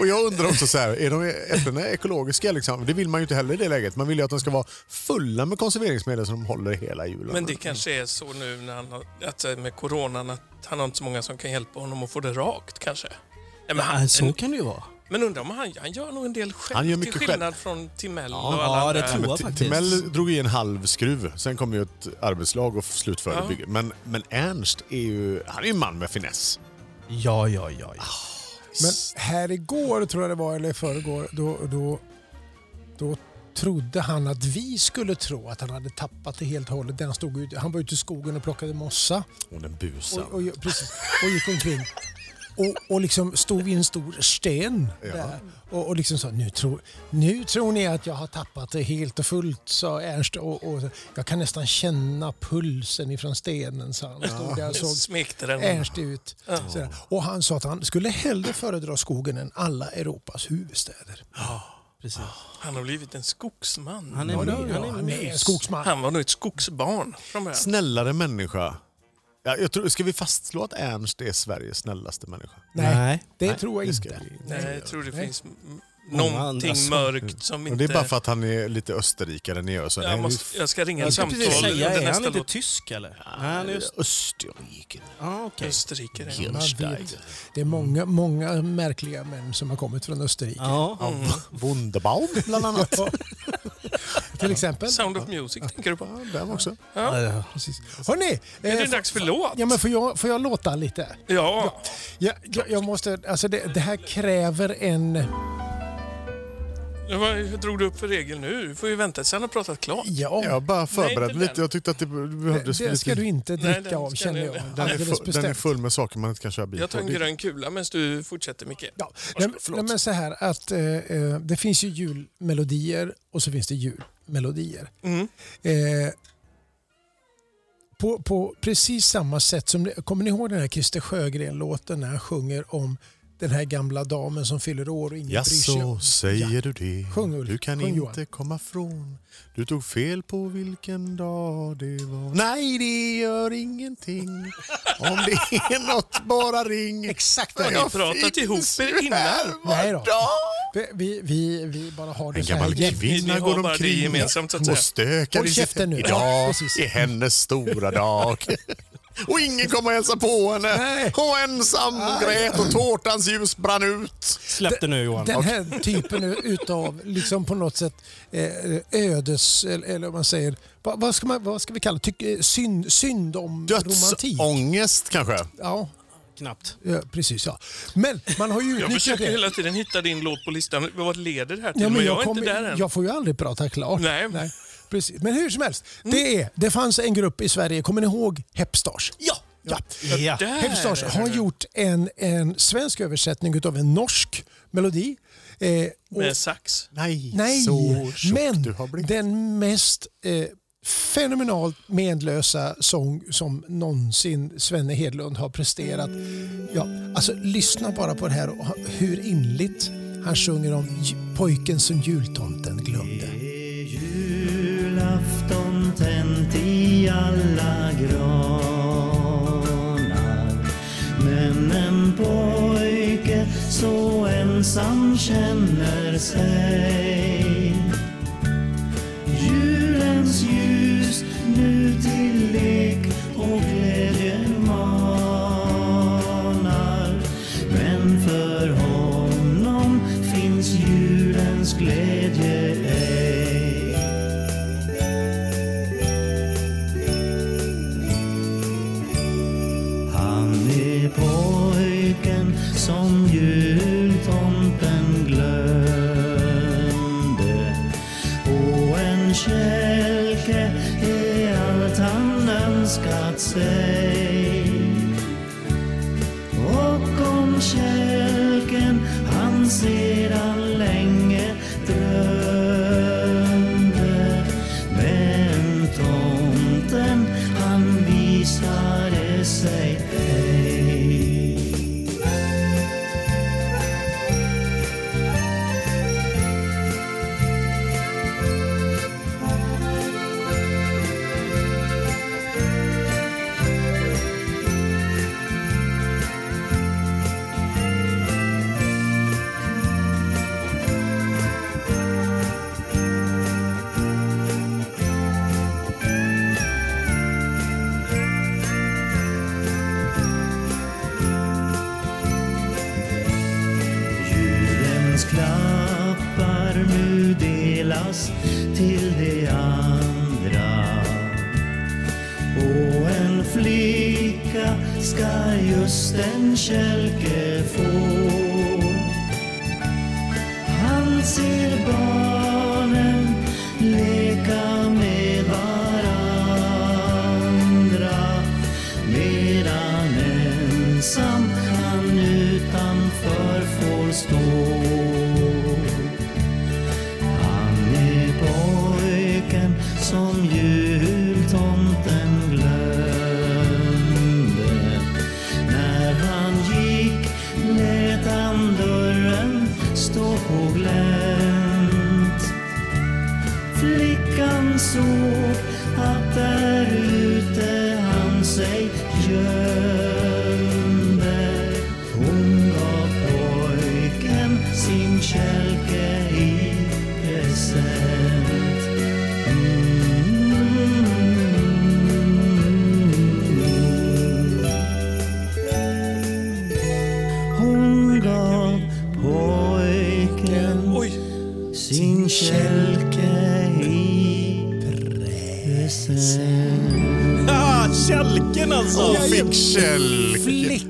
B: Och jag undrar också, så här, är de äpplena ekologiska? Liksom? Det vill man ju inte heller i det läget. Man vill ju att de ska vara fulla med konserveringsmedel som de håller hela julen.
E: Men det kanske är så nu när han har, att eh, med coronan att han har inte så många som kan hjälpa honom att få det rakt kanske. Nej, men, han,
C: Men så kan det ju vara.
E: men undrar om han, han gör nog en del själv
B: Han gör mycket
E: till
B: själv.
E: skillnad från Timell och alla
C: ja,
E: andra.
C: det tror jag.
B: Men T-
C: faktiskt.
B: Timell drog ju en halv skruv, sen kom ju ett arbetslag och slutförde bygget. Men, men Ernst är ju, han är ju en man med finess. Ah,
C: Ja, ja, ja. ja.
D: Men här igår tror jag det var, eller i förrgår, då, då, då trodde han att vi skulle tro att han hade tappat det helt och hållet. Den stod ut, han var ute i skogen och plockade mossa
B: Och den
D: och,
B: busan.
D: och, och, precis, och gick omkring. Och, och liksom stod vid en stor sten där. Och, och liksom sa, nu tror, nu tror ni att jag har tappat det helt och fullt, sa Ernst. Och, och, jag kan nästan känna pulsen ifrån stenen, sa han. Stod där och
E: Jag
D: såg
E: Smekte den.
D: Ernst ut. Sådär. Och han sa att han skulle hellre föredra skogen än alla Europas huvudstäder.
C: Precis.
E: Han har blivit en skogsman.
C: Han
E: Han,
C: är,
D: Ja, det
C: han
D: var
C: är,
D: jag. Han är en skogsman.
E: var nog ett skogsbarn från början.
B: snällare människa. Ja, jag tror, ska vi fastslå att Ernst är Sveriges snällaste människa?
D: Nej,
C: Nej.
D: det tror jag
B: Det ska
D: inte.
B: vi.
E: Nej, jag tror det
D: Nej.
E: finns m-
C: Många andra
E: någonting
C: som-
E: mörkt som
B: Och
E: inte...
B: det är bara för att han är lite österrikare än jag. Så
E: jag, måste, jag ska ringa ett
C: Jag
E: samtal
C: tänkte precis säga,
E: under
C: är han
E: nästa
C: inte
E: låt.
C: tysk eller? Nej, han är just...
B: Österrike.
C: Ah, okej.
E: Österrike. det är-
D: Man vet. Det är många, många märkliga män som har kommit från Österrike.
C: Ja.
E: Mm.
B: Wunderbaum bland annat.
D: Till exempel.
E: Sound of Music tänker du på?
B: Dem också.
C: Ja.
D: Hörrni!
E: Är det dags för låt?
D: Ja, men får, jag, får jag låta lite?
E: Ja.
D: Jag, jag, jag måste, alltså det, det här kräver en...
E: Ja, Vad drog du upp för regel nu? Du får ju vänta tills han har pratat klart.
D: Ja,
B: Jag bara
E: Nej,
B: förberedde
E: inte
B: lite.
E: den.
B: Jag tyckte att det behövdes
D: det ska
B: lite.
D: du inte
E: Nej,
D: dricka
E: den
D: av
E: ska
D: känner
E: ni-
D: jag.
E: Den är
B: Den är,
D: Alldeles
B: full, den är
D: bestämt.
B: full med saker man inte kan köra bil
E: Jag tar
B: på.
E: en
B: Det-
E: grön kula medan du fortsätter Micke.
D: Ja, nej, nej, men så här att eh, eh, det finns ju julmelodier och så finns det julmelodier.
E: Mm.
D: Eh, på, på precis samma sätt som, kommer ni ihåg den här Christer Sjögren-låten när han sjunger om den här gamla damen som fyller år och ingen bryr sig?
B: Jaså, säger du det?
D: Sjung, Ulf.
B: Du kan
D: Sjung,
B: inte
D: Johan.
B: komma från. Du tog fel på vilken dag det var. Nej, (laughs) det gör ingenting. Om det är något, bara ring. Exakt.
E: Har ni pratat ihop er innan?
D: Nej då. Vi, vi, vi, vi bara har det
B: En
D: så här
B: gammal
D: jämt.
E: Ni
B: kvinna
E: har
B: går
E: bara det
B: omkring
E: gemensamt, så att
B: och
E: säga.
B: stökar
D: Håll
B: i
D: käften nu. Ja,
B: Idag
D: precis.
B: är hennes
D: (laughs)
B: stora dag. Och ingen kom och hälsade på henne.
D: Nej.
B: Hon var ensam och grät och tårtans ljus brann ut.
C: Släpp det nu Johan.
D: Den här typen utav liksom på något sätt eh, ödes, eller, eller vad man säger, vad, vad, ska, man, vad ska vi kalla det? Tyck, eh, synd, synd om romantik.
B: Dödsångest kanske.
D: Ja,
C: knappt.
D: Ja, precis, ja. Men man har ju
E: Jag
D: utnyttjat
E: försöker
D: det.
E: hela tiden hitta din låt på listan. Vad leder det här till?
D: Ja,
E: men
D: men
E: jag,
D: jag,
E: är
D: kommer-
E: inte där än.
D: jag får ju aldrig prata klart.
E: Nej. Mm.
D: Precis. Men hur som helst, det, är, det fanns en grupp i Sverige, kommer ni ihåg Hepstars?
C: Ja!
D: Ja.
C: Ja.
E: Där.
D: Hepstars har gjort en, en svensk översättning av en norsk melodi. Eh, och-
E: Med sax.
B: Nej,
D: Nej,
B: så tjock
D: men
B: du har blivit.
D: den mest eh, fenomenalt menlösa sång som någonsin Svenne Hedlund har presterat. Ja, alltså lyssna bara på det här och hur inligt han sjunger om ju- pojken som jultomten glömde.
K: Det är julafton tänt i alla granar Men en pojke så ensam känner sig Julens ljus nu till lek och glädje manar Men för honom finns julens glädje ej Han är pojken som jultomten glömde och en kälke är allt han önskat sig och om kälken han sedan länge drömde men tomten han visade sig ej Julens klappar nu delas till de andra Och en flicka ska just en kälke få Han ser barnen leka med varandra medan ensam han utanför får stå. Han är pojken som jultomten glömde. När han gick lät han dörren stå på glänt. Flickan såg att där ute han sig gömde. Hon gav pojken sin kälke i present. Hon gav pojken
E: Oj!
K: sin kälke i present.
C: Ah, kälken alltså!
D: Ja, ja.
B: Fick kälke.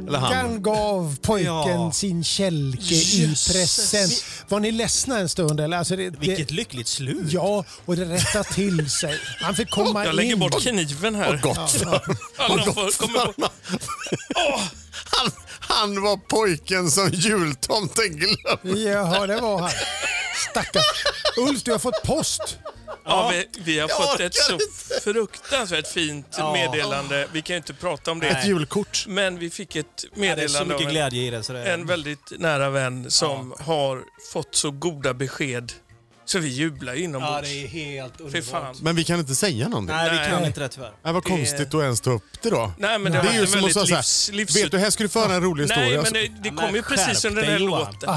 B: Eller han.
D: Flickan gav pojken
C: Ja.
D: sin kälke
C: Jösses.
D: i present. Var ni ledsna en stund? Eller? Alltså det,
C: Vilket
D: det,
C: lyckligt slut.
D: ja, och det rättade till sig. Han fick komma
E: Jag lägger
D: in.
E: bort kniven här.
B: Gott för
E: Alla
B: (laughs)
E: får, kommer på.
B: han, han var pojken som jultomten glömde.
D: Jaha, det var han. Stackars. Ulf, du har fått post.
E: Ja, vi, vi har fått
B: orkar
E: ett så fruktansvärt fint meddelande. Vi kan ju inte prata om det.
B: Ett julkort.
E: Men vi fick ett
C: Det är så
E: meddelande
C: mycket
E: av en,
C: glädje i det. Så det
E: en väldigt nära vän som har fått så goda besked så vi jublar ju
C: ja,
E: inombords.
C: det är helt
E: Fy
C: underbart.
E: fan.
B: Men vi kan inte säga någonting.
C: Nej, vi kan
E: Nej.
C: inte det tyvärr.
B: Nej, vad konstigt att ens ta upp det då.
E: Nej, men det,
B: Det
E: var
B: är ju
E: en
B: som att
E: väldigt
B: säga så
E: livs,
B: här,
E: livs...
B: Vet du, här skulle du få höra en rolig
E: Nej,
B: historia.
E: men det, det
C: men
E: kom ju
C: skärp
E: precis under den här
C: dig, Johan.
E: låten.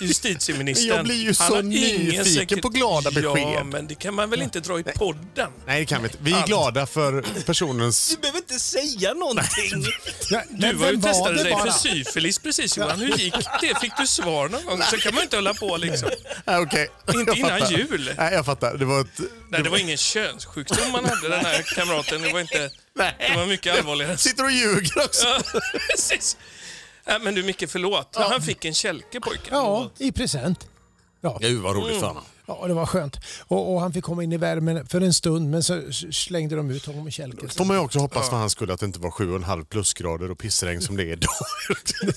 E: Justitieministern.
B: Jag blir ju
E: han
B: så
E: har ingen
B: nyfiken på glada
E: Ja,
B: besked.
E: men det kan man väl inte dra i podden?
B: Nej, det kan vi inte. Vi är glada för personens...
C: Du behöver inte säga någonting.
D: Ja,
E: Du
D: men
E: var ju
D: vem var
E: testade
D: det
E: dig
D: bara?
E: för syfilis precis Johan. Hur gick det? Fick du svar någon gång? Så kan man ju inte hålla på liksom.
B: Nej, Okej, Nej,
E: Inte
B: jag
E: innan
B: fattar.
E: jul.
B: Nej, jag fattar. Det var ett...
E: Nej, det var ingen könssjukdom man hade, den här kamraten. Det var, inte, det var
D: (laughs)
E: mycket allvarligare.
B: Sitter och ljuger också.
E: Ja, precis. Nej, men du Micke, förlåt. Ja. Han fick en kälke pojken.
D: Ja, i present. Mm.
B: Gud vad roligt för honom.
D: Ja, det var skönt. Och, och han fick komma in i värmen för en stund, men så slängde de ut honom i kälken.
B: Får man ju också hoppas för hans skull att det inte var 7,5 plusgrader och pissregn som det är idag. (laughs)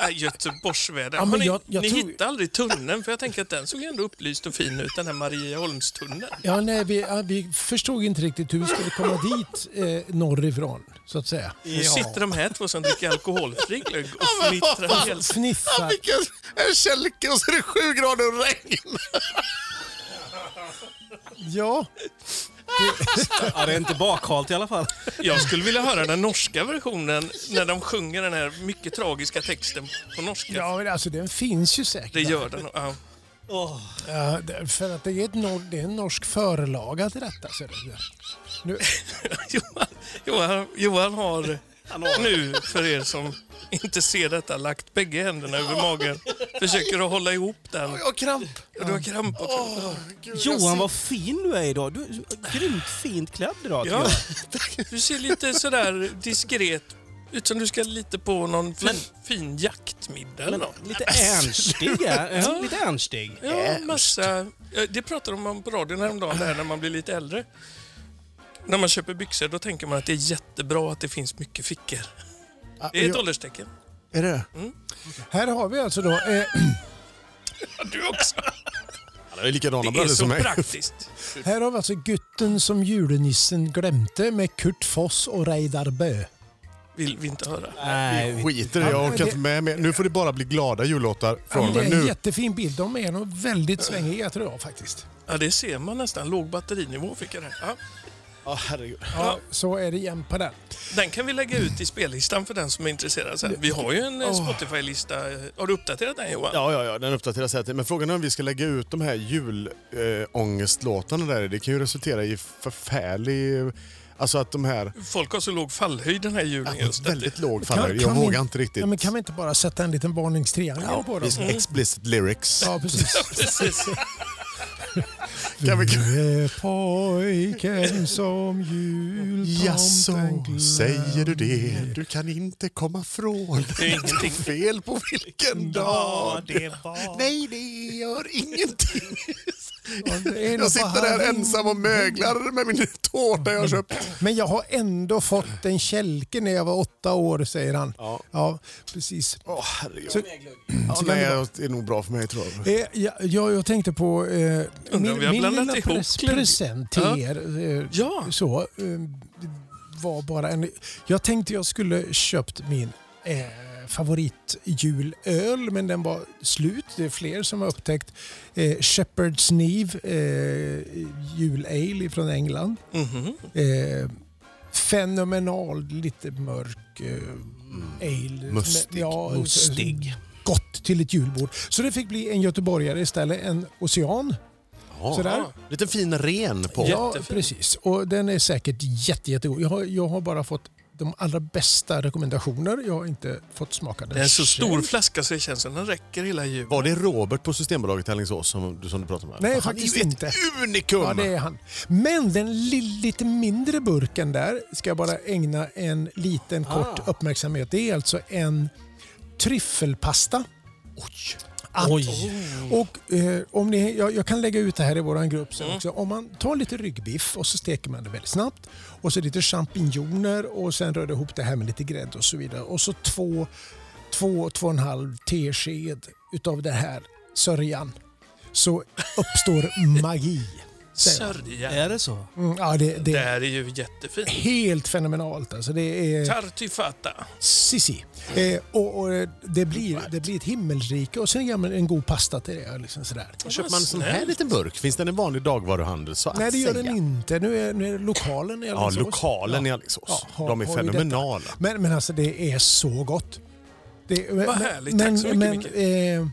E: Äh, Göteborgsväder.
D: Ja, men
E: Har ni
D: jag- jag
E: ni
D: tror-
E: hittade aldrig tunneln, för jag tänker att den såg ändå upplyst och fin ut, den här Marieholmstunneln.
D: Ja, nej, vi, ja, vi förstod inte riktigt hur vi skulle komma dit eh, norrifrån, så att säga.
E: Nu sitter de här två som dricker alkoholfri glögg och fnittrar helt.
D: Fnissar.
B: Vilken en kälke och så är det 7 grader och regn.
D: Ja,
C: Ja, det är inte bakhalt i alla fall.
E: Jag skulle vilja höra den norska versionen när de sjunger den här mycket tragiska texten på norska.
D: ja men alltså den finns ju säkert.
E: Det gör den. Ja.
D: Ja, det- för att det är, ett nor- det är en norsk förlaga till detta. Så är det. Nu,
E: Johan, Johan, Johan har nu, för er som inte ser detta, lagt bägge händerna över magen. Försöker att hålla ihop den.
B: Jag har kramp.
E: Ja, Du har kramp också.
C: Johan, vad fin du är idag. Du är grymt fint klädd idag. tycker
E: Ja,
C: jag.
E: du ser lite sådär diskret ut som du ska lite på någon fin, fin jaktmiddag eller
C: Men
E: något.
C: lite ernstig. är-
B: (laughs)
C: ja, Lite ernstig.
E: Ja, massa. ja, Det pratade de om på radion häromdagen, det här när man blir lite äldre. När man köper byxor då tänker man att det är jättebra att det finns mycket fickor. Det är ett
D: jag-
E: ålderstecken.
B: Är det
E: Mm.
D: här har vi alltså då...
B: (clears throat)
D: Eh,
E: Ja, Du också.
B: Han är likadana
E: Det är
B: bröder
E: så
B: som mig.
E: praktiskt.
D: Här har vi alltså Gutten som julenissen glömde med Kurt Foss och Reidar Bö.
E: Vill vi inte höra.
C: Nej, vi-
B: Skiter i det, jag orkar inte med mer. Nu får det bara bli glada jullåtar från
D: det
B: mig
D: är en
B: nu.
D: jättefin bild. De är nog väldigt svängiga tror jag faktiskt.
E: Ja, det ser man nästan. Låg batterinivå fick jag där. Ja,
D: Ja, så är det jämt på den.
E: den kan vi lägga ut i spellistan för den som är intresserad sen. Vi har ju en eh, Spotify-lista. Har du uppdaterat den Johan?
B: Ja, ja, ja, den uppdateras hela tiden. Men frågan är om vi ska lägga ut de här julångestlåtarna där. Det kan ju resultera i förfärlig... Alltså att de här...
E: Folk har så låg fallhöjd den här julen just. att
B: Väldigt låg
D: Kan-
B: faller.
D: kan
B: Jag
D: vi-
B: vågar inte riktigt.
D: Ja, men kan vi inte bara sätta en liten varningstriangel på dem? Mm.
B: Visst,
E: Mm.
B: Explicit lyrics.
D: Ja, precis.
E: Precis.
B: Kan vi...
D: Du är pojken som jultomten
B: Jaså,
D: glömde.
B: säger du (laughs) det? Du kan inte komma från
E: Det är ingenting.
B: fel på vilken dag det var. Nej, det gör ingenting.
D: det är nog
B: Jag sitter där
D: bara-
B: ensam och möglar med min tårta jag har köpt.
D: Men jag har ändå fått en kälke när jag var åtta år, säger han. Ja, precis.
B: Åh, herregud.
D: Så,
B: Ja,
D: så kan
B: nej,
D: det vara.
B: det är nog bra för mig tror jag.
D: Eh, ja, ja, jag tänkte på eh,
E: Undrar om vi
D: min,
E: har
D: min
E: blandat
D: lilla
E: ihop
D: pres-
E: glögg.
D: present till
E: Ja.
D: er. Eh,
E: Ja.
D: Så, eh, var bara en, jag tänkte jag skulle köpt min eh, favoritjulöl, men den var slut. Det är fler som har upptäckt eh, Shepherd's Neve eh, julale från England.
E: Mhm.
D: Eh, fenomenal, lite mörk eh, ale.
B: Mustig.
D: Ja, eh,
C: Mustig.
D: Gott till ett julbord. Så det fick bli en göteborgare istället, en ocean. Sådär.
B: Lite fin ren på.
D: Ja,
E: Jättefin.
D: precis. Och den är säkert jätte, jättegod. Jag har, jag har bara fått de allra bästa rekommendationer. Jag har inte fått smaka den.
E: Det är en så stor
D: själv.
E: flaska så det känns som den räcker hela julen.
B: Var det Robert på Systembolaget i Alingsås som, du- som du pratade om?
D: Nej,
B: Han
D: faktiskt
B: är ju
D: inte.
B: ett unikum!
D: Ja, det är han. Men den li- lite mindre burken där ska jag bara ägna en liten
B: Ah.
D: kort uppmärksamhet. Det är alltså en tryffelpasta. Att- Och, eh, om ni, jag, jag kan lägga ut det här i vår grupp
B: Mm.
D: sen också. Om man tar lite ryggbiff och så steker man det väldigt snabbt. Och så lite champinjoner och sen rör det ihop det här med lite grädde och så vidare. Och så två, två, två och en halv tesked utav det här sörjan. Så
B: (laughs)
D: uppstår magi. säger man.
E: Sörja.
C: Är det så?
D: Mm, ja, det, det
E: Det
D: är
E: här är ju jättefint.
D: helt fenomenalt. Alltså, det är
E: Tartifata.
D: sissi. Eh, och, och eh, det, blir, det blir ett himmelrike och sen gör man en god pasta till det. Liksom sådär.
B: Köper man en sån här liten burk? Finns den i vanlig dagvaruhandel? Så att
D: Nej, det gör
B: säga.
D: den inte. Nu är, nu är det lokalen i
B: Ja,
D: Alingsås.
B: lokalen i Alingsås.
D: Ja, har-
B: De är
D: har ju detta.
B: fenomenala.
D: Men, men alltså, det är så gott. Det, Vad
E: härligt. Tack så mycket,
D: Men, eh,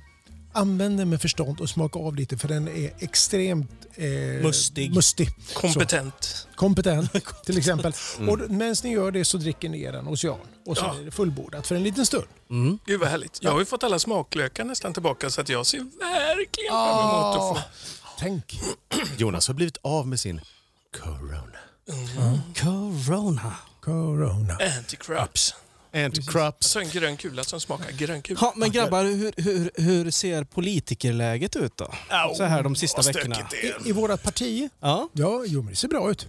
D: använd den med förstånd och smaka av lite för den är extremt eh,
C: Mustig.
D: mustig.
E: Kompetent.
D: kompetent (laughs) till exempel. Och medan ni gör det så dricker ni er en ocean och så
E: Ja.
D: är det fullbordat för en liten stund.
B: Mm.
E: Gud vad härligt. Jag har ju fått alla smaklökar nästan tillbaka så att jag ser verkligen fram
D: Ah.
E: emot att få...
D: Tänk.
B: Jonas har blivit av med sin corona.
C: Corona.
D: Corona.
E: Anticrops.
B: And
E: Jag
B: crops.
E: sa en grön kula som smakar grönkula.
C: Ha, men grabbar, hur, hur, hur ser politikerläget ut då? Så här de sista veckorna.
D: I, i vårt parti?
C: Ja,
D: Ja, jo, men det ser bra ut.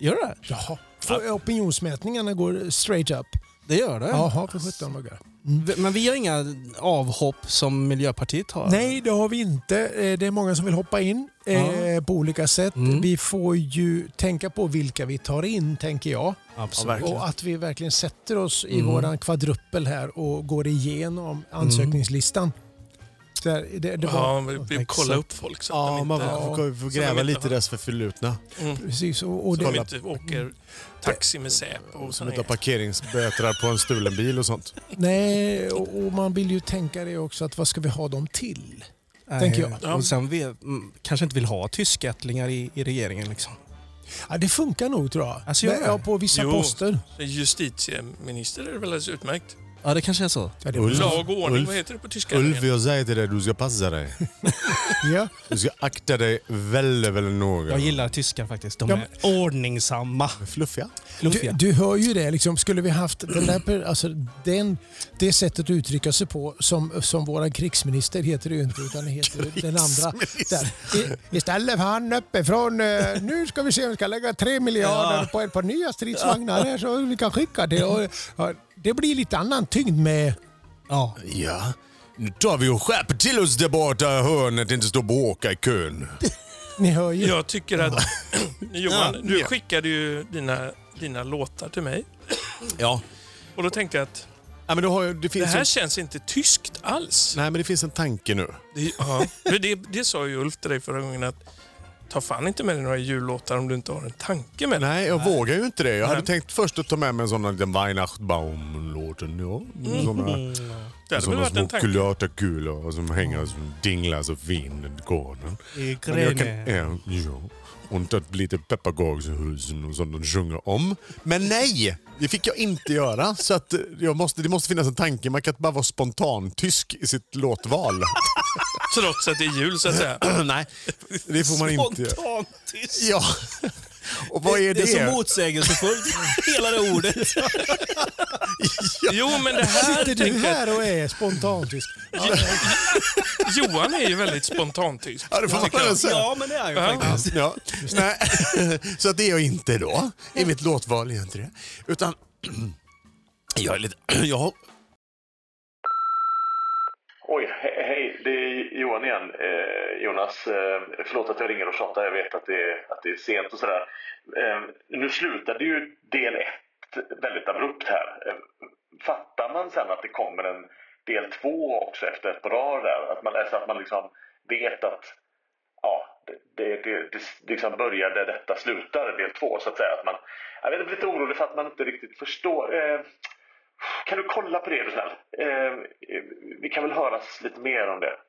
C: gör det?
D: Jaha. För opinionsmätningarna går straight up.
C: Det gör det.
D: Jaha, för 17 dagar.
C: V- Men vi har inga avhopp som Miljöpartiet har.
D: Nej, det har vi inte. Eh, Det är många som vill hoppa in eh, på olika sätt.
C: Mm.
D: Vi får ju tänka på vilka vi tar in, tänker jag.
C: Absolut. Mm.
D: Och att vi verkligen sätter oss i våran kvadruppel här och går igenom ansökningslistan.
C: Mm.
D: Där, det, det var,
E: Ja, vi, vi kollar upp folk så att
B: Ja,
E: de
B: man
E: inte,
B: får, får, får
E: Så de
B: gräva
E: inte
B: lite i
E: har-
B: deras förflutna.
D: precis, och, och
E: Mm. så de
D: det,
E: inte åker taxi med Säpo och
B: Som inte har
E: sådana
B: parkeringsböter på en stulen bil och sånt.
D: nej, och, och man vill ju tänka det också, att vad ska vi ha dem till?
C: Nej.
D: tänker jag.
E: Ja.
C: Och sen vi mm, kanske inte vill ha tyskättlingar i, i regeringen liksom.
D: Ja, det funkar nog tror jag.
C: Alltså, gör
D: Men,
C: det?
D: ja, på vissa
E: Jo.
D: poster.
E: Justitieminister är det väl alldeles utmärkt?
C: Ja, det kanske är så.
D: Ja, det,
B: Ulf,
E: Lag och ordning,
B: Ulf.
E: vad heter det på tyska?
B: Ulf, jag säger till dig, du ska passa dig.
D: (laughs) ja.
B: Du ska akta dig väldigt, väldigt noga.
C: Jag gillar tyskar faktiskt. De
D: Ja,
C: är ordningsamma.
B: fluffiga.
D: Du,
C: Luftiga.
D: du hör ju det, liksom, skulle vi haft den där, per- alltså, den, det sättet att uttrycka sig på som, som vår krigsminister heter det ju inte utan det heter ju (laughs) den andra. Där. I, istället för han uppifrån, eh, nu ska vi se om vi ska lägga tre miljarder på ett par nya stridsvagnar här så vi kan skicka det. Och, ja, det blir lite annan tyngd med...
C: Ja.
B: Ja. Nu tar vi och skärper till oss där borta i hörnet, inte stå och bråka i kön.
D: Ni hör ju.
E: Jag tycker
B: (laughs)
E: att... Johan, du
B: Ja.
E: skickade ju dina, dina låtar till mig.
B: Ja.
E: Och då tänkte jag att
B: ja men då har jag, det,
E: det
B: finns
E: här
B: en,
E: känns inte tyskt alls.
B: nej, men det finns en tanke nu.
E: Det, ja. (laughs) Men det, det sa ju Ulf till dig förra gången att ta fan inte med dig några jullåtar om du inte har en tanke med det.
B: Nej, jag vågar ju inte det. Jag hade tänkt först att ta med mig en sån här liten Weihnachtsbaum-låten. Ja, såna,
E: Mm. Det hade väl
B: såna
E: varit
B: små
E: en tanke. Mm.
B: kulörtakulor som hänger som dinglar så fint i gården.
C: I
B: Men jag kan, ja, ja. Och att lite pepparkakshusen och sånt de sjunger om. Men nej! Det fick jag inte göra. Så att eh, jag måste, det måste finnas en tanke. Man kan inte bara vara spontan tysk i
C: (laughs)
B: sitt låtval.
E: Trots att det är jul så att säga.
B: (clears throat) nej, det får man inte göra.
C: Spontantysk.
B: Ja. Och vad är det?
C: Det är så motsägelsefullt,
B: (laughs)
C: hela det ordet.
E: Jo, men det här
D: Sitter du
E: tänker jag
D: här och är spontantysk?
E: att Johan är ju väldigt spontantysk.
B: ja, det får man
E: tycker jag.
B: väl säga.
C: Ja, men det är ju faktiskt.
B: Ja. Nej. (laughs) Så att det är jag inte då. I mitt låtval är jag inte det. Utan (clears throat) jag är lite... Jag har,
A: Oj, he- hej, det är Johan igen. Eh, Jonas, eh, förlåt att jag ringer och tjatar. Jag vet att det, är- att det är sent och sådär. Eh, nu slutade ju del ett väldigt abrupt här. Eh, fattar man sen att det kommer en del två också efter ett par dagar där? Att man, alltså att man liksom vet att ja, det, det, det, det liksom börjar där detta slutar, del två så att säga. Att man, jag vet, jag blir lite orolig för att man inte riktigt förstår. Eh, kan du kolla på det är du snäll? Eh, vi kan väl höras lite mer om det?